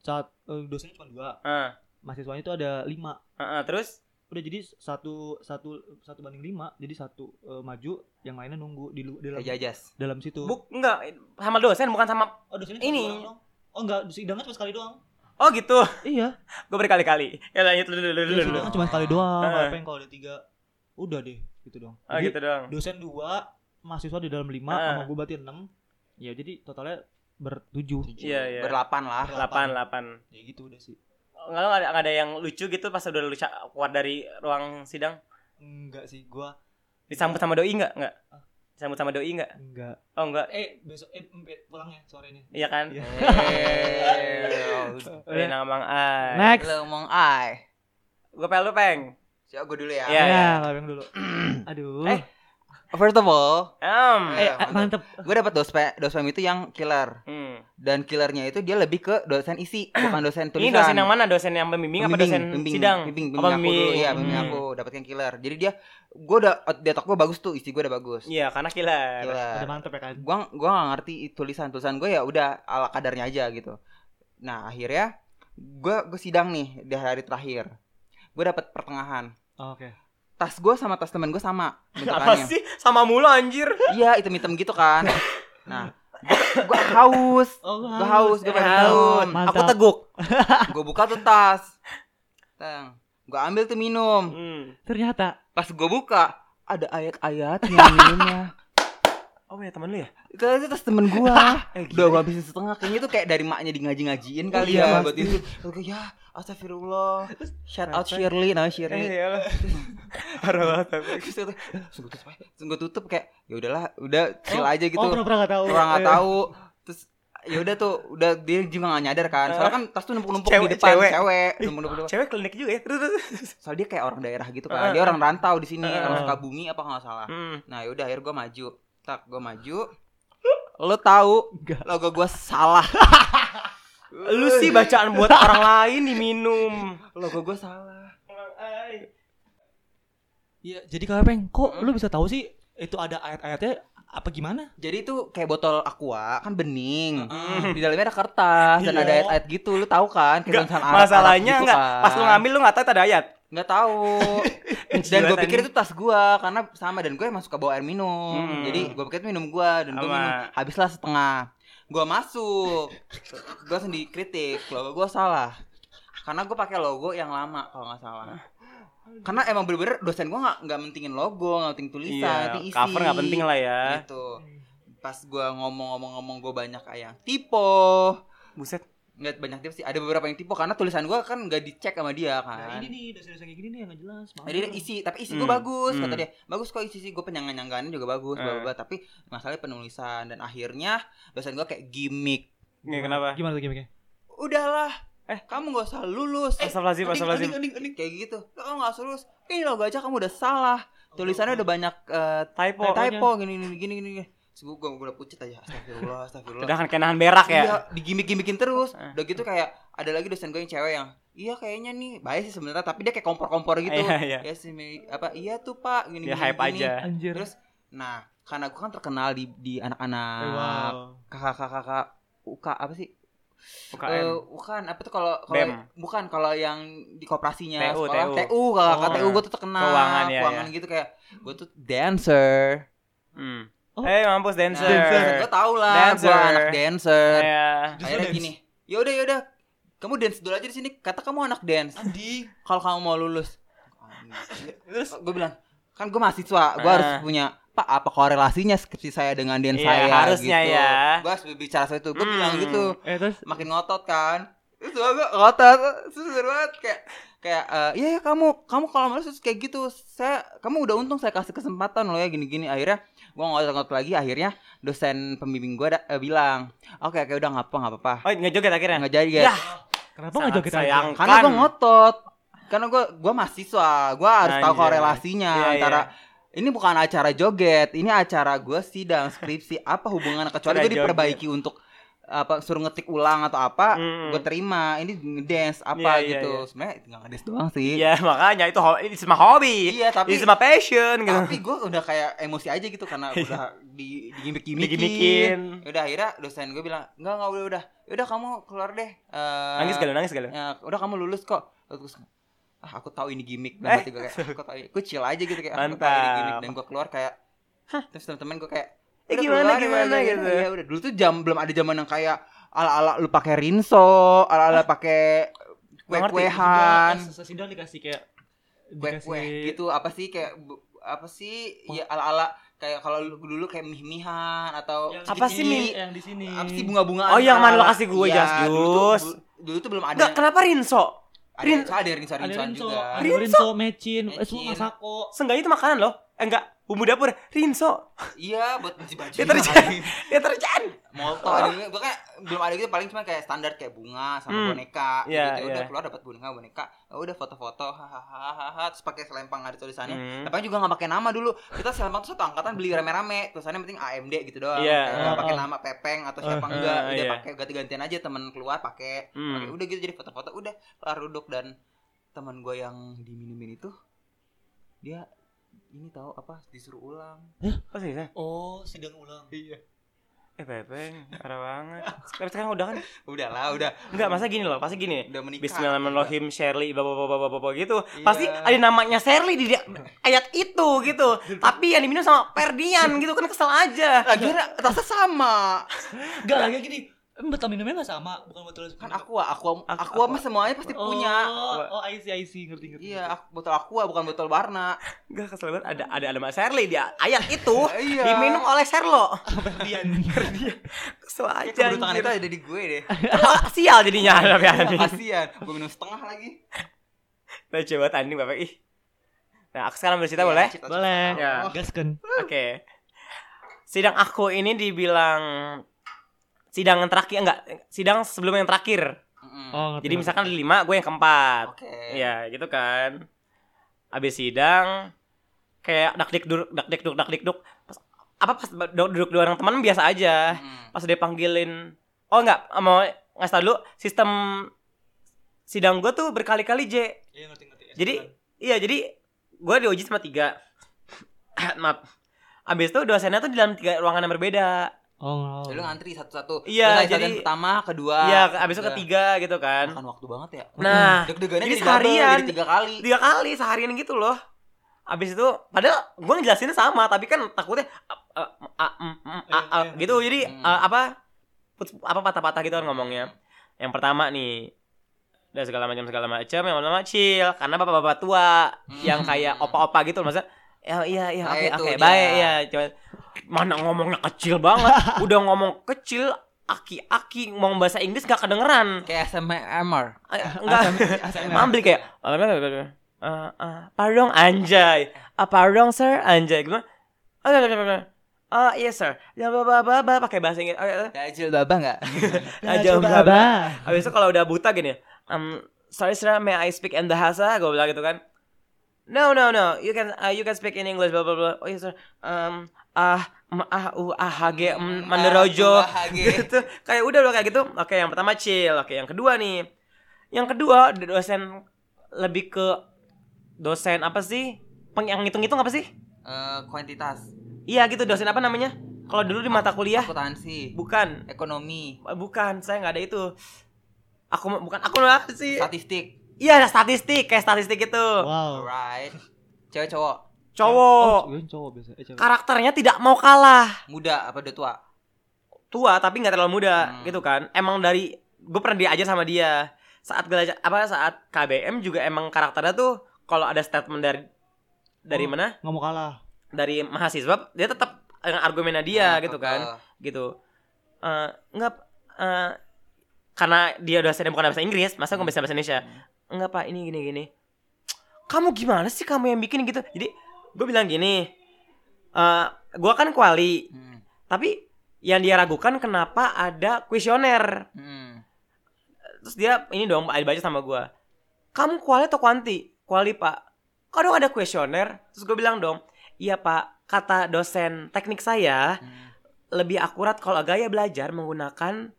S4: saat eh, dosennya cuma dua
S2: Heeh.
S4: mahasiswanya itu ada lima
S2: Heeh, Ah, terus?
S4: udah jadi satu satu satu banding lima jadi satu eh, maju yang lainnya nunggu di, lu- di dalam
S1: Kayak jajas.
S4: dalam situ
S2: Iya, Buk, enggak. Sama dosen bukan sama...
S4: oh dosennya
S2: ini.
S4: cuma dua orang doang. oh enggak sidangnya cuma sekali doang
S2: Oh gitu.
S4: iya
S2: Gue berkali-kali. Ya lanjut dulu dulu dulu.
S4: Iya,
S2: dulu.
S4: sidangnya cuma sekali doang
S2: Heeh.
S4: apa yang kalau ada tiga udah deh gitu dong
S2: Oh
S4: Jadi,
S2: Ah. gitu Ah. doang.
S4: dosen dua mahasiswa di dalam lima
S2: Heeh.
S4: sama gue berarti enam ya jadi totalnya bertujuh
S2: Iya, iya.
S1: Berlapan lah.
S2: Delapan, delapan.
S4: ya gitu udah sih
S2: Enggak ada, nggak ada yang lucu gitu pas udah lu ca- keluar dari ruang sidang.
S4: enggak sih gue
S2: Disambut sama doi enggak? Enggak. Disambut sama doi enggak?
S4: enggak
S2: Oh enggak.
S4: eh besok eh empe- pulangnya sorenya
S2: Iya kan?
S4: Iya.
S1: Eh,
S2: Udah namang ai.
S4: next
S1: Lu ngomong ai.
S2: Gue pel lu peng.
S1: Siap gue dulu ya.
S2: Iya, iya.
S4: ya kalau yang dulu aduh
S2: Eh,
S1: First of all,
S2: Em.
S1: Eh,
S4: eh, mantep
S1: gue dapat dospe dospem itu yang killer
S2: Hmm.
S1: dan killernya itu dia lebih ke dosen isi bukan dosen tulisan.
S2: Ini dosen yang mana? Dosen yang pembimbing, apa dosen sidang?
S1: Bimbing,
S2: apa
S1: bimbing, aku dulu, iya, bimbing
S2: Hmm.
S1: aku dapat yang killer. Jadi dia gue udah dia gue bagus tuh, isi gue udah bagus.
S2: Iya, karena killer.
S1: Killer.
S4: udah mantep ya kan
S1: Gua gua gak ngerti tulisan tulisan gue ya udah ala kadarnya aja gitu. Nah, akhirnya gue gue sidang nih di hari terakhir. Gue dapat pertengahan.
S4: oke
S1: Tas gue sama tas temen gue sama
S2: Apa
S1: bentukannya.
S2: sih? Sama mulu anjir.
S1: Iya, item-item gitu kan. Nah, gue gua haus.
S4: Oh,
S1: Gue haus, gue pengen
S2: Haus.
S1: haus.
S4: Mantap.
S2: Aku teguk.
S1: Gue buka tuh tas. Teng. Gue ambil tuh minum.
S2: Hmm.
S4: Ternyata
S1: Pas gue buka ada ayat-ayat yang minumnya.
S2: Oh ya teman lu ya?
S1: Itu itu tas temen gua.
S2: Eh,
S1: Udah gua habisin setengah. Kayaknya itu kayak dari maknya di ngaji-ngajiin kali
S4: Iya,
S1: ya
S4: pasti.
S1: buat itu. Terus kayak, ya astagfirullah. Shout out Shirley namanya Shirley.
S2: iya lah. Parah banget
S4: Eh,
S2: tapi.
S1: Terus kata, "Terus gua tutup aja." Terus gua tutup kayak ya udahlah, udah chill aja gitu.
S4: oh pernah-pernah nggak tahu
S1: Orang nggak
S4: Eh,
S1: tahu. Terus ya udah tuh, udah dia juga nggak nyadar kan. Soalnya kan tas tuh numpuk-numpuk
S2: Cewek-
S1: di depan
S2: cewek.
S1: cewek, numpuk-numpuk. di depan.
S2: Cewek klinik juga ya. Terus terus. terus.
S1: Soalnya dia kayak orang daerah gitu
S2: Ah.
S4: Eh,
S1: kan. Dia orang rantau di sini,
S2: Ah.
S1: orang Sukabumi apa nggak salah.
S2: Hmm.
S1: Nah, yaudah akhirnya gua maju. Tak, gua maju. Lo tahu
S4: Enggak.
S1: logo gua salah.
S2: Lu sih bacaan buat orang lain diminum.
S1: logo gue salah
S4: eh. Iya, jadi kalau peng,
S1: Hmm?
S4: kok lu bisa tahu sih itu ada ayat-ayatnya apa gimana?
S1: jadi itu kayak botol aqua kan bening
S2: Mm.
S1: di dalamnya ada kertas dan
S4: Iya.
S1: ada ayat-ayat gitu lu tahu kan
S2: Enggak,
S1: kayak tulisan Arab-
S2: masalahnya
S1: Arab gitu
S2: enggak.
S1: kan.
S2: Pas lu ngambil lu enggak tahu itu ada ayat.
S1: nggak tahu dan gue pikir itu tas gue karena sama dan gue emang suka bawa air minum
S2: Hmm.
S1: jadi gue pikir itu minum gue dan gue
S2: Sama.
S1: minum habislah setengah gue masuk gue sendiri kritik logo gue salah karena gue pakai logo yang lama kalau nggak salah karena emang bener-bener dosen gue nggak nggak mentingin logo nggak penting tulisan nggak
S2: iya,
S1: penting isi
S2: cover enggak penting lah ya.
S1: gitu pas gua ngomong-ngomong-ngomong gua banyak yang typo
S2: Buset.
S1: nggak banyak tipe sih ada beberapa yang typo karena tulisan gua kan nggak dicek sama dia kan
S4: nih, dosen-dosen kayak gini nih yang nggak jelas.
S1: jadi dia isi tapi isi gua
S2: Hmm,
S1: bagus kata
S2: hmm.
S1: dia bagus kok isi isi gua penyangga nyanggaannya juga bagus
S2: Eh.
S1: bla bla bla. tapi masalahnya penulisan dan akhirnya dosen gua kayak gimmick
S2: Ini kenapa?
S4: Gimana tuh gimmicknya?
S1: udahlah eh kamu gak usah lulus eh,
S2: Astagfirullahaladzim, astagfirullahaladzim.
S1: ending, ending, ending. kayak gitu kamu nggak usah lulus ini logo aja kamu udah salah
S2: Oh, iya,
S4: Oh,
S1: tulisannya udah banyak eh,
S2: Typo.
S1: typo gini gini gini gini Terus gua gua- gua udah pucet aja astagfirullah astagfirullah
S2: Udah kan kenahan berak ya.
S1: Iya, digimik-gimikin terus.
S2: Eh.
S1: Udah gitu kayak ada lagi dosen gue yang cewek yang iya kayaknya nih baik sih sebenarnya tapi dia kayak kompor-kompor gitu.
S2: Iya, iya.
S1: Ya sih Mi- apa iya tuh Pak gini gini,
S2: Dia Ya, hype
S1: gini.
S2: aja.
S4: Anjir.
S1: Terus nah karena gue kan terkenal di di Nah. anak-anak
S4: Eh, wow.
S1: kakak-kakak UK apa sih?
S2: UKM.
S1: Eh, bukan apa tuh kalau
S2: BEM.
S1: kalau bukan kalau yang di koperasinya
S2: TU,
S1: sekolah
S2: TU.
S1: TU kakak
S2: Oh.
S1: TU gue tuh terkenal
S2: Keuangan, iya, iya.
S1: gitu kayak gue tuh dancer.
S2: Hmm.
S4: Oh.
S2: Eh, mampus dancer.
S1: Gue tau lah gue
S2: Dancer.
S1: anak dancer.
S2: Iya.
S1: akhirnya gini "Ya yaudah yaudah kamu dance dulu aja di sini kata kamu anak dance
S4: Andi.
S1: kalau kamu mau lulus
S4: Terus
S1: gue bilang kan gue mahasiswa gue
S2: Ah.
S1: harus punya apa apa korelasinya skripsi saya dengan den
S2: Iya,
S1: saya
S2: harusnya
S1: gitu.
S2: ya.
S1: Gue harus berbicara soal itu. Gue
S2: Hmm.
S1: bilang gitu,
S4: eh terus
S1: makin ngotot kan. Terus gue ngotot, terus seru banget kayak kayak eh, iya ya kamu kamu kalau malas terus kayak gitu saya kamu udah untung saya kasih kesempatan loh ya gini-gini akhirnya gue ngotot-ngotot lagi akhirnya dosen pembimbing gue bilang oke oke udah nggak apa nggak apa-apa
S2: Oh, ngejoget akhirnya.
S1: nggak jadi guys
S2: Yah,
S4: kenapa
S2: sangat
S4: nggak joget aja?
S2: sayang.
S1: karena
S2: Kan.
S1: gue ngotot karena gue gue mahasiswa gue harus tahu
S2: Anjay.
S1: korelasinya
S2: Iya,
S1: antara ini bukan acara joget ini acara gue sidang skripsi apa hubungan kecuali
S2: Acara
S1: gue diperbaiki untuk apa suruh ngetik ulang atau apa
S2: Mm.
S1: gue terima ini ngedance
S2: Iya,
S1: apa
S2: iya,
S1: gitu
S2: iya.
S1: sebenarnya nggak ngedance doang sih
S2: Iya, makanya itu ho- ini semua hobi.
S1: Iya, tapi Ah,
S2: ini semua passion gitu. Iya.
S1: tapi gue udah kayak emosi aja gitu karena udah di digimik-gimikin Ya
S2: Digimikin.
S1: udah akhirnya dosen gue bilang nggak nggak udah udah udah kamu keluar deh Eh,
S2: Nangis galau, nangis galau.
S1: ya, udah kamu lulus kok Terus, ah aku tahu ini gimmick dan
S2: Eh.
S1: hati gue kayak aku tahu ini gue chill aja gitu kayak aku tahu ini
S2: Mantap.
S1: gimmick dan gue keluar kayak terus teman-teman gue kayak
S2: Eh,
S1: "Udah
S2: gimana,
S1: keluar,
S2: gimana,"
S1: ya,
S2: gitu.
S1: ya udah dulu tuh jam belum ada zaman yang kayak ala-ala lu pakai rinso ala-ala pakai kue-kuehan
S4: eh, sesidang dikasih kayak
S2: ah,
S1: kue-kue gitu apa sih kayak bu- apa sih
S2: Oh.
S1: ya ala-ala kayak kalau lu dulu kayak mih-mihan atau
S2: Apa sih,
S1: mie
S2: Mi?
S4: yang di sini
S1: apa sih bunga-bungaan
S2: Oh, yang mana lo
S1: ala-ala.
S2: kasih gue,
S1: Iya,
S2: Jas
S1: dulu
S2: Jus.
S1: tuh- dulu tuh belum ada
S2: Enggak, kenapa Rinso?
S1: ada
S2: Rin-
S1: ada rinso
S4: ada
S1: rinsoan
S4: Rinso,
S1: juga
S4: ada
S2: Rinso.
S4: Rinso, Mecin, eh
S1: Mecin.
S4: semua Masako.
S2: Seenggaknya itu makanan loh. Eh, enggak, bumbu dapur, Rinso.
S1: Iya buat cuci baju.
S2: Ya, terjadi. Ya terjadi.
S1: Molto ada juga. Gua kayak belum ada gitu paling cuma kayak standar kayak bunga sama
S2: Hmm.
S1: boneka
S2: Iya,
S1: gitu. Udah
S2: iya.
S1: keluar dapat bunga boneka. Oh, udah foto-foto hahaha terus pakai selempang ada tulisannya.
S2: Hmm.
S1: Tapi juga nggak pakai nama dulu. Kita selempang tuh satu angkatan beli rame-rame. Tulisannya penting AMD gitu doang.
S2: Iya.
S1: Kayak nggak
S4: Ah,
S1: pakai
S4: ah.
S1: nama Pepeng atau siapa
S2: Ah,
S1: enggak.
S2: ah,
S1: Udah
S2: iya.
S1: pakai ganti-gantian aja teman keluar pakai.
S2: Hmm.
S1: Pakai udah gitu jadi foto-foto udah kelar duduk dan teman gue yang diminumin itu dia ini tahu apa disuruh ulang
S2: Apa sih? Sa?
S4: Oh, sidang ulang.
S2: Eh, Pepe, parah banget. Tapi sekarang udah kan?
S1: udahlah udah
S2: Enggak, masa gini loh, masa gini.
S1: udah menikah
S2: Bismillahirrahmanirrahim Shirley bapak-bapak-bapak gitu
S1: Iya.
S2: pasti ada namanya Shirley di dia- ayat itu gitu tapi yang diminum sama Perdian gitu kan kesel aja
S1: lagi rasa sama
S4: Enggak lagi gini. Em botol minumnya enggak sama, bukan botol
S1: kan aqua aqua
S2: Aku-
S1: aqua mah semuanya pasti punya
S4: Oh, IC IC ngerti ngerti.
S1: iya ak- botol aqua bukan botol warna
S2: Enggak kesel banget ada ada ada nama Shirley di ayat itu
S1: iya
S2: Oh, diminum oleh Sherlo
S4: Perdian.
S2: kesel
S1: Ya,
S2: aja
S1: keburukan
S2: anjir.
S1: itu ada di gue deh
S2: Kesel- sial jadinya tapi anjing
S1: kasian gue minum setengah lagi
S2: lucu banget anjing bapak ih nah aku sekarang bercerita
S1: Ya,
S2: boleh
S1: cita-cita
S4: Boleh.
S1: tahu.
S2: Ya.
S4: Gaskan.
S2: oke sidang aku ini dibilang sidang yang terakhir enggak sidang sebelum yang terakhir
S1: Mm-mm.
S4: Oh, ngerti.
S2: jadi misalkan ada lima gue yang keempat
S1: oke
S2: Ya. Iya gitu kan Abis sidang Kayak dakdik duduk dakdik duduk dakdik duduk pas, Apa pas ba- du- duduk dua orang teman biasa aja
S1: Mm.
S2: Pas dia panggilin Oh enggak mau ngasih tau dulu Sistem sidang gue tuh berkali-kali J
S3: Iya ngerti ngerti.
S2: Jadi Iya jadi Gue diuji sama tiga Maaf Abis itu dosennya tuh di dalam tiga ruangan yang berbeda
S4: Oh,
S1: Jadi lu ngantri satu-satu
S2: Iya,
S1: Lu ngantri
S2: jadi-
S1: satu yang pertama kedua
S2: Iya abis itu
S1: ketiga.
S2: ketiga gitu kan
S1: makan waktu banget ya
S2: Nah
S1: deg-degannya
S2: jadi
S1: jadi double,
S2: seharian.
S1: jadi tiga kali
S2: tiga kali seharian gitu loh abis itu padahal gue ngejelasinnya sama tapi kan takutnya a- a- a- mm, mm, a- a-
S4: Iya, iya.
S2: gitu jadi
S1: Hmm.
S2: uh, apa put- apa patah-patah gitu kan ngomongnya yang pertama nih dan segala macam segala macam yang pertama chill karena bapak-bapak tua
S1: Hmm.
S2: yang kayak opa-opa gitu maksudnya ya iya iya
S1: Nah,
S2: oke
S1: itu
S2: oke
S1: dia.
S2: baik ya coba mana ngomongnya kecil banget udah ngomong kecil aki-aki ngomong bahasa Inggris gak kedengeran
S1: kayak SMR
S2: Eh, enggak Mambli kayak "Eh, eh, eh, pardon anjay Ah, pardon sir anjay gimana ah ah, yes sir ya bla bla bla bla pakai bahasa Inggris Ah, ah,
S1: ada jilbabah nggak
S2: ah,
S4: Ya,
S2: jauh,
S4: coba,
S2: bla, bla.
S4: Abah.
S2: Habis eh, itu kalau udah buta gini, um, sorry sir, may I speak in Bahasa? Gue bilang gitu kan. No no no, you can uh, you can speak in English, bla bla bla. Oh yes sir, um, ah m- ah u ah hg m- manderojo.
S1: Ah, ah, hage.
S2: gitu kayak udah udah kayak gitu. Oke yang pertama chill, oke yang kedua nih. Yang kedua dosen lebih ke dosen apa sih? Peng yang ngitung-ngitung apa sih?
S1: Eh, kuantitas
S2: Iya gitu dosen apa namanya? Kalau dulu di mata kuliah
S1: akuntansi
S2: bukan
S1: ekonomi
S2: bukan saya nggak ada itu. Aku bukan aku apa sih?
S1: statistik
S2: Iya ada statistik kayak statistik gitu.
S4: Wow.
S1: alright cewek cowok
S4: Oh,
S2: Cowok
S4: gue cowok biasa. Eh, cewek.
S2: karakternya tidak mau kalah.
S1: muda apa udah tua
S2: Tua tapi nggak terlalu muda
S1: Hmm.
S2: gitu kan. Emang dari gue pernah diajar sama dia saat belajar apa saat KBM juga emang karakternya tuh kalau ada statement dari dari
S4: Oh.
S2: mana
S4: Nggak mau kalah.
S2: dari mahasiswa dia tetap dengan argumennya dia
S1: Nah,
S2: gitu kan
S1: eh,
S2: gitu Eh nggak eh, karena dia dosennya bukan bahasa Inggris masa nggak bisa bahasa Indonesia enggak pak ini gini gini kamu gimana sih kamu yang bikin gitu jadi gue bilang gini eh gue kan kuali
S1: hmm,
S2: tapi yang dia ragukan kenapa ada kuesioner
S1: hmm.
S2: terus dia ini dong baca sama gue kamu kuali atau kuanti kuali pak kadang ada kuesioner terus gue bilang dong iya pak kata dosen teknik saya
S1: Hmm.
S2: lebih akurat kalau gaya belajar menggunakan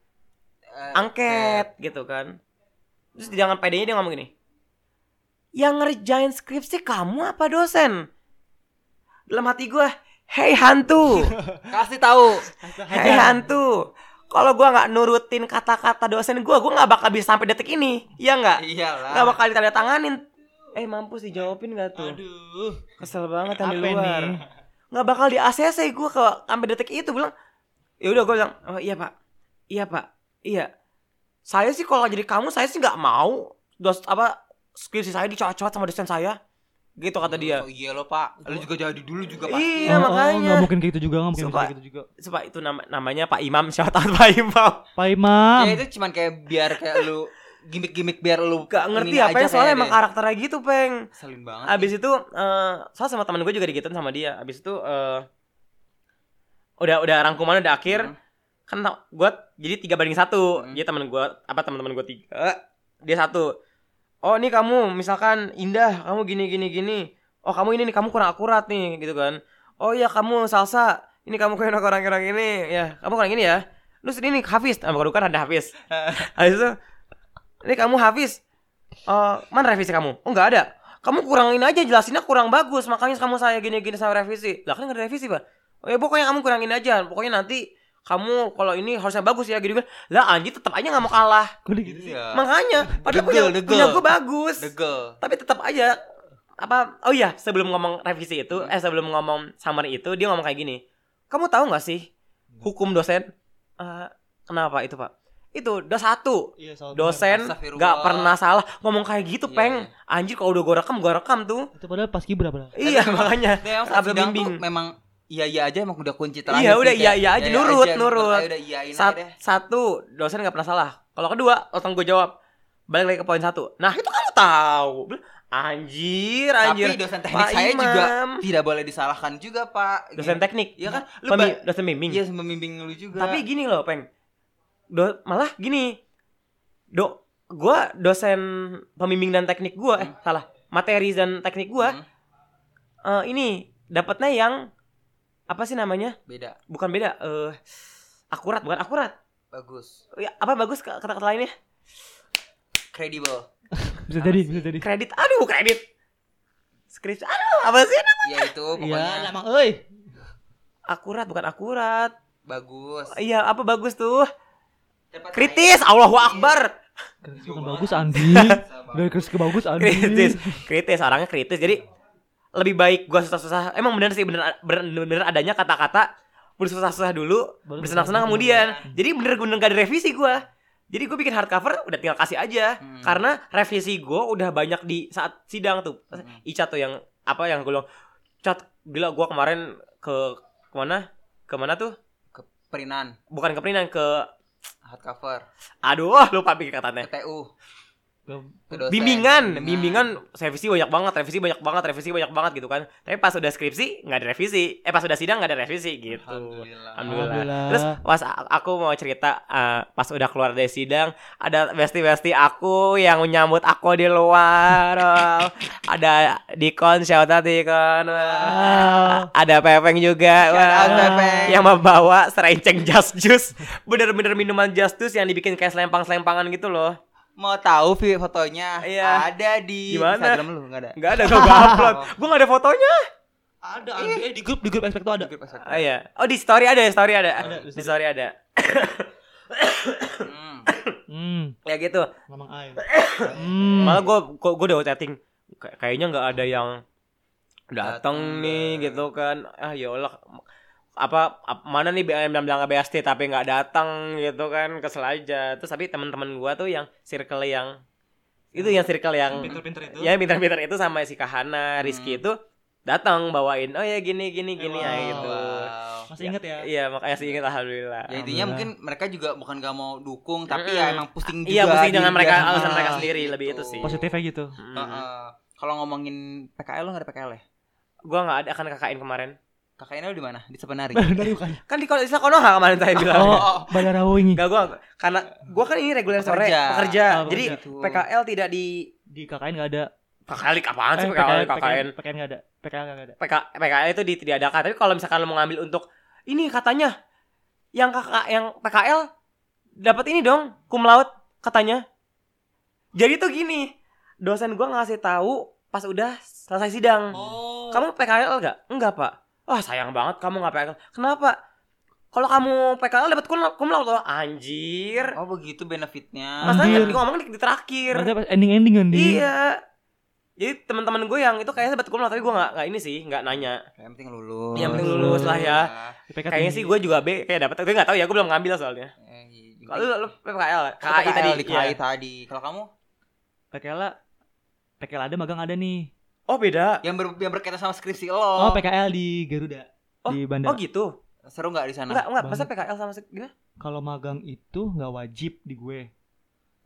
S1: Eh,
S2: angket gitu kan terus jangan pedenya dia ngomong gini yang ngerjain skripsi kamu apa dosen dalam hati gue hey hantu
S1: eh, kasih tahu
S2: hey hantu kalau gue nggak nurutin kata-kata dosen gue gue nggak bakal bisa sampai detik ini iya nggak
S1: iyalah
S2: nggak bakal ditanda tanganin eh mampus dijawabin nggak tuh
S3: Aduh.
S2: kesel banget yang di
S4: Apa
S2: luar
S4: nih?
S2: nggak bakal di ACC gue ke sampai detik itu bilang ya udah gue bilang oh iya pak iya pak iya saya sih kalau jadi kamu saya sih nggak mau dos apa skripsi saya dicocot sama dosen saya gitu kata dia
S1: Oh, iya lo pak lu juga jadi dulu juga pak
S2: iya
S4: Oh, oh,
S2: makanya
S4: nggak mungkin kayak gitu juga, nggak mungkin
S2: Sumpah.
S4: kayak gitu juga.
S2: Sumpah, itu nama- namanya Pak Imam shout out Pak Imam
S4: Pak Imam.
S1: ya itu cuman kayak biar kayak lu gimmick-gimmick biar lu
S2: gak ngerti
S1: ininya
S2: apa ya
S1: aja
S2: soalnya
S1: kayak
S2: emang
S1: deh.
S2: karakternya gitu peng
S1: Selin banget
S2: Abis itu eh soalnya sama teman gue juga digituin sama dia. Abis itu eh udah udah rangkuman udah akhir.
S1: Hmm.
S2: Kan gue jadi tiga banding satu.
S1: Hmm.
S2: Dia teman gue apa teman-teman gue tiga, eh, dia satu. Oh ini kamu misalkan indah, kamu gini gini gini. Oh kamu ini nih kamu kurang akurat nih gitu kan. Oh iya kamu salsa, ini kamu kurang kurang kurang ini ya. Kamu kurang ini ya. Lu sini nih Hafiz, nah, baru kan ada Hafiz. Habis itu ini kamu Hafiz. Eh, mana revisi kamu? Oh nggak ada kamu kurangin aja jelasinnya kurang bagus makanya kamu saya gini-gini sama revisi lah kan nggak ada revisi pak oh ya pokoknya kamu kurangin aja pokoknya nanti kamu kalau ini harusnya bagus ya gitu kan lah anjing tetap aja nggak mau kalah
S4: Kok dia gitu?
S1: gitu ya
S2: makanya padahal punya
S1: Degel, degel.
S2: punya gue bagus
S1: degel
S2: tapi tetap aja apa oh iya sebelum ngomong revisi itu
S1: Hmm.
S2: eh sebelum ngomong summary itu dia ngomong kayak gini kamu tahu nggak sih hukum dosen Eh, kenapa itu pak itu udah satu
S3: Iya, salah
S2: dosen
S1: Oh, Astagfirullah.
S2: nggak pernah salah ngomong kayak gitu
S1: Iya,
S2: peng anjir kalau udah gue rekam gue rekam tuh
S4: Itu padahal pas kibra berapa?
S2: iya
S1: emang-
S2: makanya
S1: Nah, emang saat
S2: abis
S1: sidang
S2: bimbing
S1: tuh memang iya iya aja emang udah kunci terakhir.
S2: Iya,
S1: sih,
S2: udah
S1: kayak,
S2: iya iya aja, nurut, nurut.
S1: Ayo udah iyain
S2: Sat-
S1: aja deh.
S2: satu dosen nggak pernah salah kalau kedua otong gue jawab balik lagi ke poin satu nah itu kamu tahu Bel- anjir anjir
S1: Tapi dosen teknik
S2: Pak
S1: saya juga
S2: Imam.
S1: tidak boleh disalahkan juga, Pak.
S2: dosen
S1: Gitu.
S2: teknik
S1: Iya kan? Lu
S2: Pembi-
S1: ba-
S2: dosen bimbing
S1: Iya, membimbing lu juga.
S2: tapi gini loh peng Do- malah gini do gue dosen pembimbing dan teknik gue eh salah materi dan teknik gue
S1: Hmm,
S2: eh, ini dapatnya yang apa sih namanya
S1: beda.
S2: bukan beda eh akurat bukan akurat
S1: Bagus.
S2: Ya, apa bagus ke- kata-kata lainnya
S1: Credible.
S4: Bisa jadi, bisa jadi.
S2: kredit aduh kredit skripsi aduh apa sih
S1: Ya itu
S4: Iya,
S1: pokoknya
S4: lama euy.
S2: akurat bukan akurat
S1: bagus.
S2: iya apa bagus tuh
S1: Tepat
S2: kritis Allahu Akbar
S4: Kritis
S1: Gua
S4: ke
S1: banget.
S4: bagus anjing.
S1: Sama.
S4: Dari kritis ke bagus
S2: kritis
S4: anjing.
S2: kritis orangnya kritis jadi lebih baik gua susah-susah emang bener sih bener bener, bener adanya kata-kata bersusah-susah dulu
S4: Baru
S2: bersenang-senang kemudian jadi bener bener gak ada revisi gua jadi gue bikin hardcover udah tinggal kasih aja
S1: Hmm.
S2: karena revisi gua udah banyak di saat sidang tuh
S1: Hmm.
S2: Ica tuh yang apa yang gue bilang cat gila gua kemarin ke kemana kemana tuh
S1: Perinan
S2: bukan ke Perinan ke
S1: hardcover
S2: aduh ah, lupa bikin katanya
S1: PTU.
S4: Gak-
S1: Itu dosen. Nah.
S2: bimbingan bimbingan revisi banyak banget revisi banyak banget revisi banyak banget gitu kan tapi pas udah skripsi nggak ada revisi eh pas udah sidang nggak ada revisi gitu
S3: Alhamdulillah.
S2: Alhamdulillah.
S4: Alhamdulillah.
S2: Terus pas a- aku mau cerita eh, pas udah keluar dari sidang ada besti-besti aku yang menyambut aku di luar. Wow. ada Dikon shout out Dikon. Wow.
S4: Ah,
S2: Ada Pepeng juga.
S1: Shout out,
S2: Wow.
S1: Pepeng.
S2: Yang membawa serenceng jas jus. Bener-bener minuman jas jus yang dibikin kayak selempang-selempangan gitu loh.
S1: Mau tahu Vi, fotonya
S2: Iya.
S1: ada di
S2: Gimana?
S1: Instagram lu enggak ada?
S2: Enggak ada gua nggak upload. Gua enggak ada fotonya.
S3: Ada
S4: ada, eh, di grup di grup expect tuh ada.
S1: Di grup
S2: Oh
S1: Instagram.
S2: iya. Oh di story ada, di story ada.
S4: Ada,
S2: di story ada.
S1: Hmm.
S4: Hmm,
S2: Ya gitu.
S4: memang air.
S2: Hmm.
S4: Hmm.
S2: Malah gue gua, gua udah chatting "Kay- kayaknya nggak ada yang
S1: Datang
S2: datang nih
S1: deh.
S2: gitu kan. Ah ya Allah apa, ap- mana nih BM yang bilang nggak BST tapi nggak datang gitu kan kesel aja. Terus tapi teman-teman gua tuh yang circle yang itu yang circle yang
S3: Pinter-pinter itu.
S2: Iya. ya pintar-pintar itu sama si Kahana,
S1: Hmm.
S2: Rizky itu datang bawain oh ya gini gini gini ya
S4: Wow.
S2: gitu
S1: Wow.
S4: Masih inget ya?
S2: iya makanya sih ingat alhamdulillah
S1: Ya intinya mungkin mereka juga bukan gak mau dukung tapi ya
S2: Mm-mm.
S1: emang pusing juga.
S2: iya pusing dengan
S1: di- di-
S2: mereka alasan
S1: ah,
S2: mereka sendiri lebih itu sih
S4: Positifnya gitu.
S2: Mm.
S1: Heeh. Kalau ngomongin PKL lo gak ada PKL ya?
S2: gua nggak ada kan KKN kemarin
S1: Kakaknya lo di mana? Di sebenarnya.
S4: Dari bukan.
S2: kan di kalau istilah konoha kemarin saya bilang
S4: Oh, Badarawingi
S2: Enggak gua karena gua kan ini reguler sore
S1: Pekerja.
S2: pekerja.
S4: Oh,
S2: Jadi
S4: pekerja.
S1: gitu.
S2: PKL tidak di
S4: di KKN nggak ada.
S2: kakalik apaan Kan sih
S4: Eh,
S2: PKL
S4: PKN
S2: KKN.
S4: PKN nggak ada. PKN nggak ada.
S2: PK, PKL itu di, diadakan. Tapi kalau misalkan lo mau ngambil untuk ini katanya yang kakak yang PKL dapat ini dong cum laude katanya. Jadi tuh gini, dosen gua ngasih tahu pas udah selesai sidang.
S3: Oh.
S2: Kamu PKL gak? Enggak pak Wah sayang banget kamu gak PKL Kenapa? Kalau kamu PKL dapat cum cum laude loh Anjir
S1: Oh begitu benefitnya.
S4: Mas-
S2: Masalahnya
S4: Anjir.
S2: di ngomong di, di terakhir
S4: Maksudnya pas ending-ending kan di.
S2: Iya. Jadi teman-teman gue yang itu kayaknya sebetulnya tapi gue nggak nggak ini sih nggak nanya.
S1: Yang penting lulus.
S2: Yang penting
S4: lulus
S2: lah ya.
S4: PK
S2: Kayaknya sih gue juga B kayak dapat tapi nggak tahu ya gue belum ngambil soalnya.
S1: Eh, iya.
S2: Kalau lu, lu PKL,
S1: KAI
S2: KAI tadi.
S1: di
S2: iya.
S1: KAI tadi. Kalau kamu
S4: PKL lah. PKL ada magang ada nih.
S2: Oh beda.
S1: yang ber- yang berkaitan sama skripsi
S4: Oh,
S1: lo.
S4: PKL di Garuda.
S2: Oh
S4: di bandara.
S2: gitu.
S1: Seru nggak di sana?
S2: Enggak enggak.
S4: banget.
S2: Masa PKL sama se- gimana?
S4: Kalau magang itu nggak wajib di gue.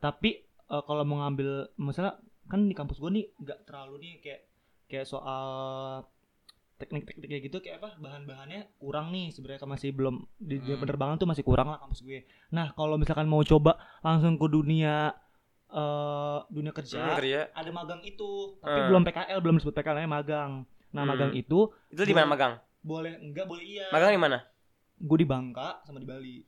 S4: Tapi eh, kalau mau ngambil misalnya kan di kampus gue nih nggak terlalu nih kayak kayak soal teknik-teknik kayak gitu kayak apa bahan-bahannya kurang nih sebenarnya kan masih belum di di
S1: Hmm.
S4: penerbangan tuh masih kurang lah kampus gue. Nah, kalau misalkan mau coba langsung ke dunia eh dunia
S2: Hmm,
S4: kerja
S2: kerja.
S4: ada magang itu, tapi
S2: Eh.
S4: belum PKL, belum disebut PKL namanya magang. Nah,
S2: Hmm.
S4: magang itu
S2: Itu di mana magang?
S4: boleh enggak boleh iya.
S2: Magang di mana?
S4: Gue di Bangka sama di Bali.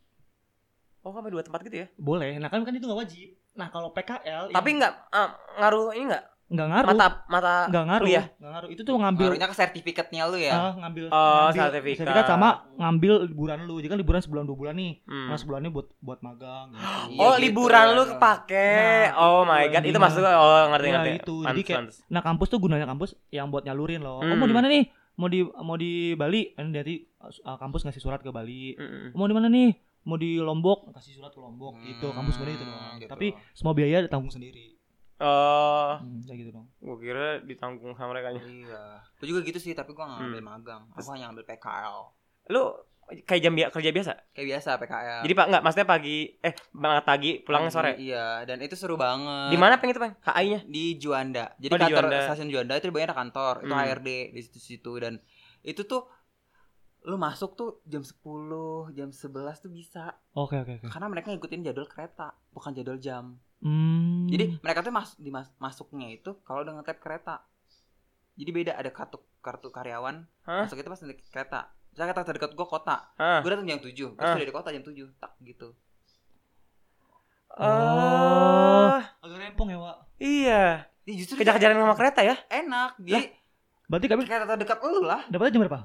S2: Oh sampai dua tempat gitu ya.
S4: Boleh. Nah, kan kan itu nggak wajib. Nah, kalau PKL
S2: Tapi
S4: yang-
S2: nggak eh, ngaruh ini nggak?
S4: nggak ngaruh.
S2: Mata mata.
S4: nggak ngaruh. ya.
S2: kuliah.
S4: Nggak ngaruh. Itu tuh ngambil
S1: Ngaruhnya ke sertifikatnya lu ya.
S4: ah, ngambil
S2: Oh,
S4: ngambil
S2: sertifikat.
S4: sama ngambil liburan lu. Jadi kan liburan sebulan dua bulan nih.
S2: Hmm.
S4: Nah, sebulannya buat buat magang gitu.
S1: Iya,
S2: Oh
S1: gitu
S2: liburan
S1: ya.
S2: lu kepake.
S4: Nah,
S2: oh my
S4: liburan
S2: god. Itu
S4: dia.
S2: maksud gue. Oh ngerti
S4: Iya,
S2: ngerti.
S4: itu. Jadi
S2: Pantes,
S4: kayak-
S2: pantes.
S4: Nah, kampus tuh gunanya kampus yang buat nyalurin loh. Oh, mau
S2: Hmm.
S4: di mana nih? Mau di mau di Bali? Ini dari ah, kampus ngasih surat ke Bali.
S2: Mm-mm.
S4: mau di mana nih mau di Lombok kasih surat ke Lombok
S2: Hmm,
S4: gitu kampus gue gitu dong
S1: Hmm, gitu.
S4: tapi semua biaya ditanggung sendiri
S2: Oh,
S4: hmm, kayak gitu dong
S2: gue kira ditanggung sama mereka.
S1: Iya. Gue juga gitu sih, tapi gue gak ngambil magang. Aku
S2: Hmm. Terus-
S1: hanya ngambil PKL.
S2: Lu kayak jam bi- kerja biasa?
S1: Kayak biasa PKL.
S2: Jadi pak nggak maksudnya pagi eh banget pagi Eh. pulangnya sore.
S1: Iya, dan itu seru banget.
S2: Di mana peng itu peng? KI-nya.
S1: Di Juanda. Jadi
S2: Oh, di
S1: kantor
S2: Juanda.
S1: stasiun Juanda itu banyak kantor, itu
S2: Hmm.
S1: HRD di situ-situ dan itu tuh lu masuk tuh jam 10, jam 11 tuh bisa
S4: oke oke
S2: Hmm.
S4: oke
S1: karena mereka ngikutin jadwal kereta, bukan jadwal jam.
S4: hmm.
S1: Jadi mereka tuh mas di mas- masuknya itu kalau dengan tap kereta. Jadi beda ada kartu kartu karyawan,
S2: Hah?
S1: masuk itu pas nanti kereta. Misalnya kata dekat gua kota,
S2: Ah.
S1: gue datang jam 7 gue
S2: Ah.
S1: sudah di kota jam 7 tak gitu
S2: Oh,
S4: agak rempong ya Wak
S2: iya.
S1: Ini justru
S2: Kejar-kejaran sama kereta ya?
S1: enak jadi
S4: berarti kami
S1: kereta terdekat lu lah
S4: dapatnya jam berapa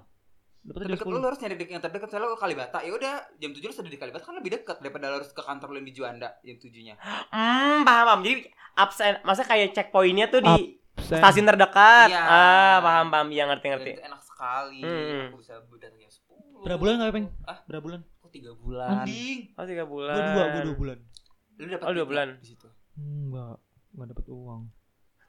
S4: dapatnya jam
S1: terdekat lu
S4: sepuluh
S1: lu harus nyari dek- yang terdekat misalnya lu ke Kalibata ya udah jam 7 lu sudah di Kalibata kan lebih dekat daripada lu harus ke kantor lu yang di Juanda jam 7 nya
S2: Hmm, paham paham. Jadi absen maksudnya kayak checkpointnya tuh di stasiun terdekat.
S1: Iya.
S2: Ah, paham paham. Iya ngerti
S1: Dan
S2: ngerti.
S1: itu enak sekali
S2: Hmm.
S1: aku bisa datang jam 10
S4: Berapa bulan nggak, Peng?
S1: ah
S4: berapa bulan
S1: kok 3 bulan
S4: anjing
S2: Oh tiga bulan.
S4: gua dua gua dua bulan
S1: lu dapat
S2: Oh, dua
S1: tiga
S2: bulan.
S1: di situ
S4: hmm, nggak nggak dapat uang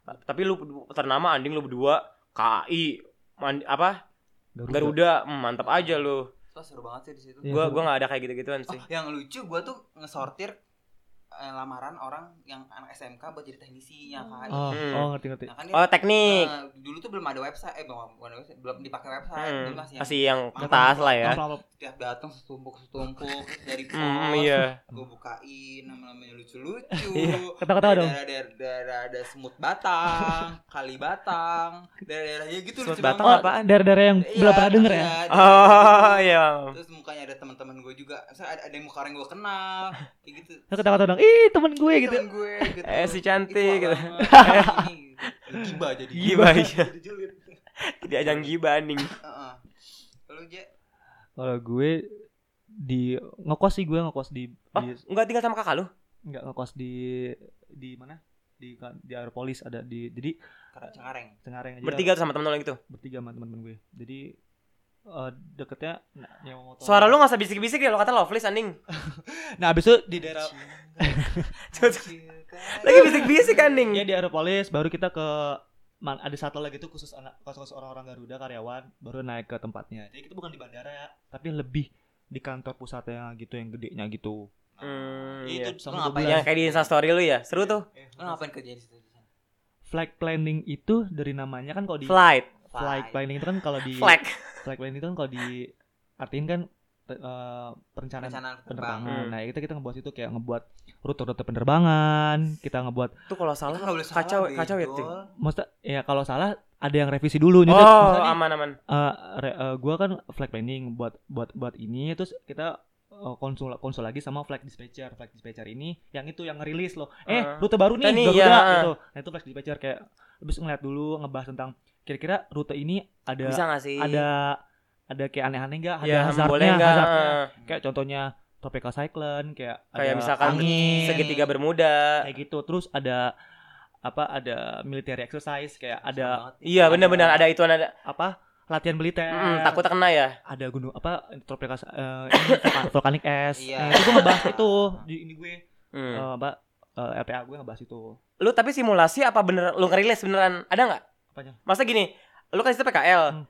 S2: Ah, Tapi lu ternama anding lu berdua KI man- apa
S4: Garuda
S2: Garuda hmm, mantap aja lu.
S1: Terus seru banget sih di situ
S4: Iya.
S2: Gua gua nggak ada kayak gitu-gituan sih.
S1: oh yang lucu gue tuh ngesortir eh, lamaran orang yang anak SMK buat jadi teknisinya kan
S4: oh,
S2: Hmm.
S4: oh ngerti ngerti
S1: Nah, kan dia-
S2: Oh teknik.
S1: Nah, dulu tuh belum ada website, eh belum, bukan website, belum dipakai website,
S2: Hmm,
S1: dulu masih,
S2: masih yang kertas lah ya.
S4: Apa-apa.
S1: tiap datang setumpuk setumpuk dari pos,
S2: Hmm, iya.
S1: gue bukain nama-namanya lucu-lucu,
S4: Iya, ketawa-ketawa dong.
S1: daerah-daerah daerah ada semut batang, kali batang, daerah-daerahnya gitu
S2: Semut
S1: lucu
S2: batang
S1: banget.
S2: apa?
S4: Apaan? Oh, daerah-daerah yang
S1: Iya,
S4: belum pernah denger ya
S1: iya,
S2: Oh
S1: daerah-daerah gitu.
S2: iya.
S1: Terus mukanya ada teman-teman gue juga, Saya ada, ada yang muka orang gue kenal, kayak gitu.
S4: Terus ketawa-ketawa dong ih temen gue gitu
S1: Temen gue, gitu.
S2: Eh, si cantik,
S1: Itu
S2: gitu.
S1: alamat, ini, gitu. Gibah jadi.
S2: Gibah, iya.
S1: Jadi julid.
S2: Tidak jangan gibah nih.
S1: Heeh. Lu Je,
S4: kalau gue di ngekos sih gue ngekos di,
S2: Oh,
S4: di
S2: enggak tinggal sama kakak lu?
S4: nggak ngekos di di mana di kan- di Aeropolis ada di jadi
S1: Karena Cengareng.
S4: Cengareng aja
S2: Bertiga tuh sama temen lu yang gitu. itu.
S4: bertiga sama teman-teman gue jadi eh, deketnya nah, nyewa motor
S2: Suara lu enggak usah bisik-bisik deh, lo kata loveless anjing.
S4: nah abis itu di daerah
S2: Lagi bisik-bisik anjing.
S4: Hmm.
S1: Iya,
S4: ya di Aeropolis baru kita ke man- ada shuttle lagi tuh khusus anak khusus orang-orang Garuda karyawan baru naik ke tempatnya. Jadi itu bukan di bandara, tapi lebih di kantor pusatnya gitu yang gedenya gitu.
S2: Hmm,
S3: itu
S2: iya.
S1: Lu
S4: Sama
S1: ngapain?
S2: Yang kayak di Instastory lu ya, seru tuh.
S3: eh,
S1: Lu ngapain kerja di situ?
S4: Flight planning itu dari namanya kan kalau di
S2: Flight,
S4: flight planning itu kan kalau di
S2: flag.
S4: flight planning itu kan kalau di artiin kan pe- eh, perencanaan
S1: Perencanaan terbang.
S4: penerbangan.
S2: Hmm.
S4: Nah, kita kita ngebuat itu kayak ngebuat rute-rute penerbangan, kita ngebuat
S2: Tuh kalau
S1: Lu
S2: salah
S1: nggak boleh salah,
S2: kacau kacau ya,
S1: Bego.
S2: Ting.
S4: maksudnya ya kalau salah ada yang revisi dulu nih.
S2: Oh,
S4: Misalnya nih,
S2: aman aman.
S4: eh, re- eh, gua kan flight planning buat buat buat ini terus kita eh, konsul konsul lagi sama flight dispatcher. Flight dispatcher ini yang itu yang ngerilis loh. Eh,
S2: Ah.
S4: rute baru nih
S2: Ini,
S4: Garuda
S2: iya, ah.
S4: gitu. Nah, itu flight dispatcher kayak habis ngeliat dulu ngebahas tentang kira-kira rute ini ada
S2: Bisa gak sih?
S4: Ya, ada ada kayak aneh-aneh enggak? Ada
S2: ya,
S4: hazardnya,
S2: boleh nggak?
S4: hazardnya.
S2: eh,
S4: kayak contohnya tropical cyclone kayak
S2: Kayak
S4: ada
S2: misalkan
S4: angin,
S2: segitiga bermuda.
S4: kayak gitu terus ada apa ada military exercise kayak ada
S1: Banget.
S2: Iya, benar-benar ada itu ada.
S4: apa latihan militer
S2: Mm, takut kena ya.
S4: ada gunung apa tropical eh, ini vulkan- volcanic es
S1: Iya.
S4: Nah, itu gue ngebahas itu di ini gue
S2: Hmm.
S4: eh, apa eh, LPA gue ngebahas itu
S2: lu tapi simulasi apa bener lu ngerilis beneran ada nggak?
S4: Apanya?
S2: Masa gini, lu kan itu PKL,
S4: Hmm.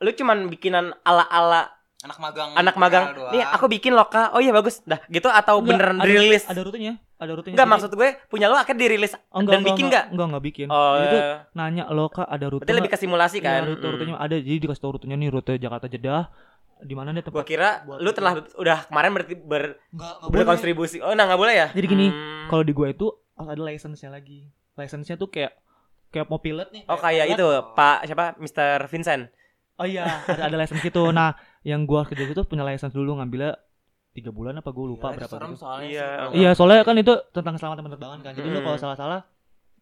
S2: lu cuman bikinan ala-ala
S1: Anak magang.
S2: Hmm, anak magang.
S1: doang.
S2: Nih aku bikin loka, oh iya bagus, dah gitu atau
S4: Enggak,
S2: beneran
S4: ada-
S2: dirilis?
S4: ada rutenya ada rutenya
S2: Enggak
S4: Jadi-
S2: maksud gue punya lu akhirnya dirilis.
S4: oh, enggak,
S2: dan
S4: enggak,
S2: bikin
S4: enggak enggak enggak bikin
S2: Oh,
S4: Jadi tuh nanya lo kak ada rute
S2: berarti lebih
S4: nggak?"
S2: ke simulasi
S4: Iya,
S2: kan?
S4: rute rutenya
S2: Hmm.
S4: ada jadi dikasih tau rutenya nih rute Jakarta Jeddah di mana nih
S2: Gua
S4: tempat
S2: kira
S4: buat
S2: lu
S4: itu.
S2: telah udah kemarin berarti ber,
S3: nggak nggak boleh
S2: berkontribusi. Oh, nah nggak boleh ya?
S4: Jadi gini,
S2: Hmm.
S4: kalau di gua itu harus ada license-nya lagi. License-nya tuh kayak kayak mau pilot nih.
S2: Oh kayak
S4: pilot.
S2: itu Pak siapa Mr. Vincent
S4: Oh iya, ada, ada license gitu. Nah, yang gua kerja itu punya license dulu ngambilnya tiga bulan apa gua lupa
S1: Iya,
S4: berapa
S1: serem
S4: gitu.
S1: soalnya
S2: Iya.
S1: sih.
S4: Iya, soalnya kan itu tentang keselamatan penerbangan kan. Jadi lu
S2: Mm.
S4: kalau salah-salah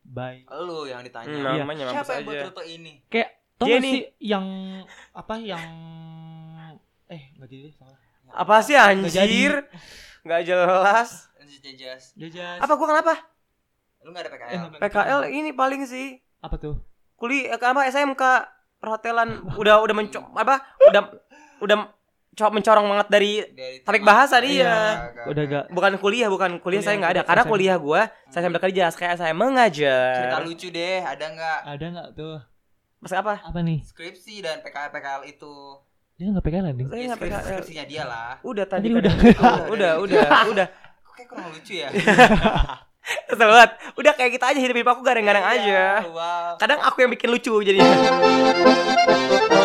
S4: bye.
S1: Lu yang ditanya.
S2: Hmm,
S4: Iya.
S2: namanya mampus
S1: Siapa yang buat
S2: aja
S1: rute ini?
S4: Tau
S2: Dia
S4: gak
S2: nih-
S4: sih yang apa yang eh nggak jadi deh, salah.
S2: Apa sih anjir Nggak jelas
S1: Jejas.
S4: Jajas.
S2: Apa gua kenapa?
S1: Lu nggak ada
S4: Eh,
S1: PKL.
S4: nggak, nggak.
S2: PKL ini paling sih
S4: apa tuh?
S2: kuli eh, apa SMK perhotelan udah udah mencok apa udah udah co- mencorong banget dari
S1: Dari
S2: Tarik
S1: teman.
S2: bahasan, iya.
S4: Udah
S1: kan.
S4: gak
S2: bukan kuliah bukan kuliah
S4: Kuliah,
S2: saya nggak ada
S4: kuliah,
S2: karena
S4: SMK.
S2: kuliah gua saya sambil kerja kayak saya mengajar
S1: Cerita lucu deh, ada nggak
S4: ada nggak tuh?
S2: Mas apa
S4: Apa nih?
S1: skripsi dan PKL PKL itu?
S4: Dia nggak PKL anjing.
S2: saya
S1: Ya,
S2: nggak
S1: skripsi-
S2: PKL.
S1: skripsinya dia lah.
S2: udah tadi kan.
S4: Tadi udah.
S2: udah udah udah
S1: Kok kayak kurang lucu ya?
S2: Kesel banget. udah kayak gitu
S4: Iya.
S2: kita aja hidup hidup aku gareng-gareng aja
S1: Iya, Wow.
S2: kadang aku yang bikin lucu jadinya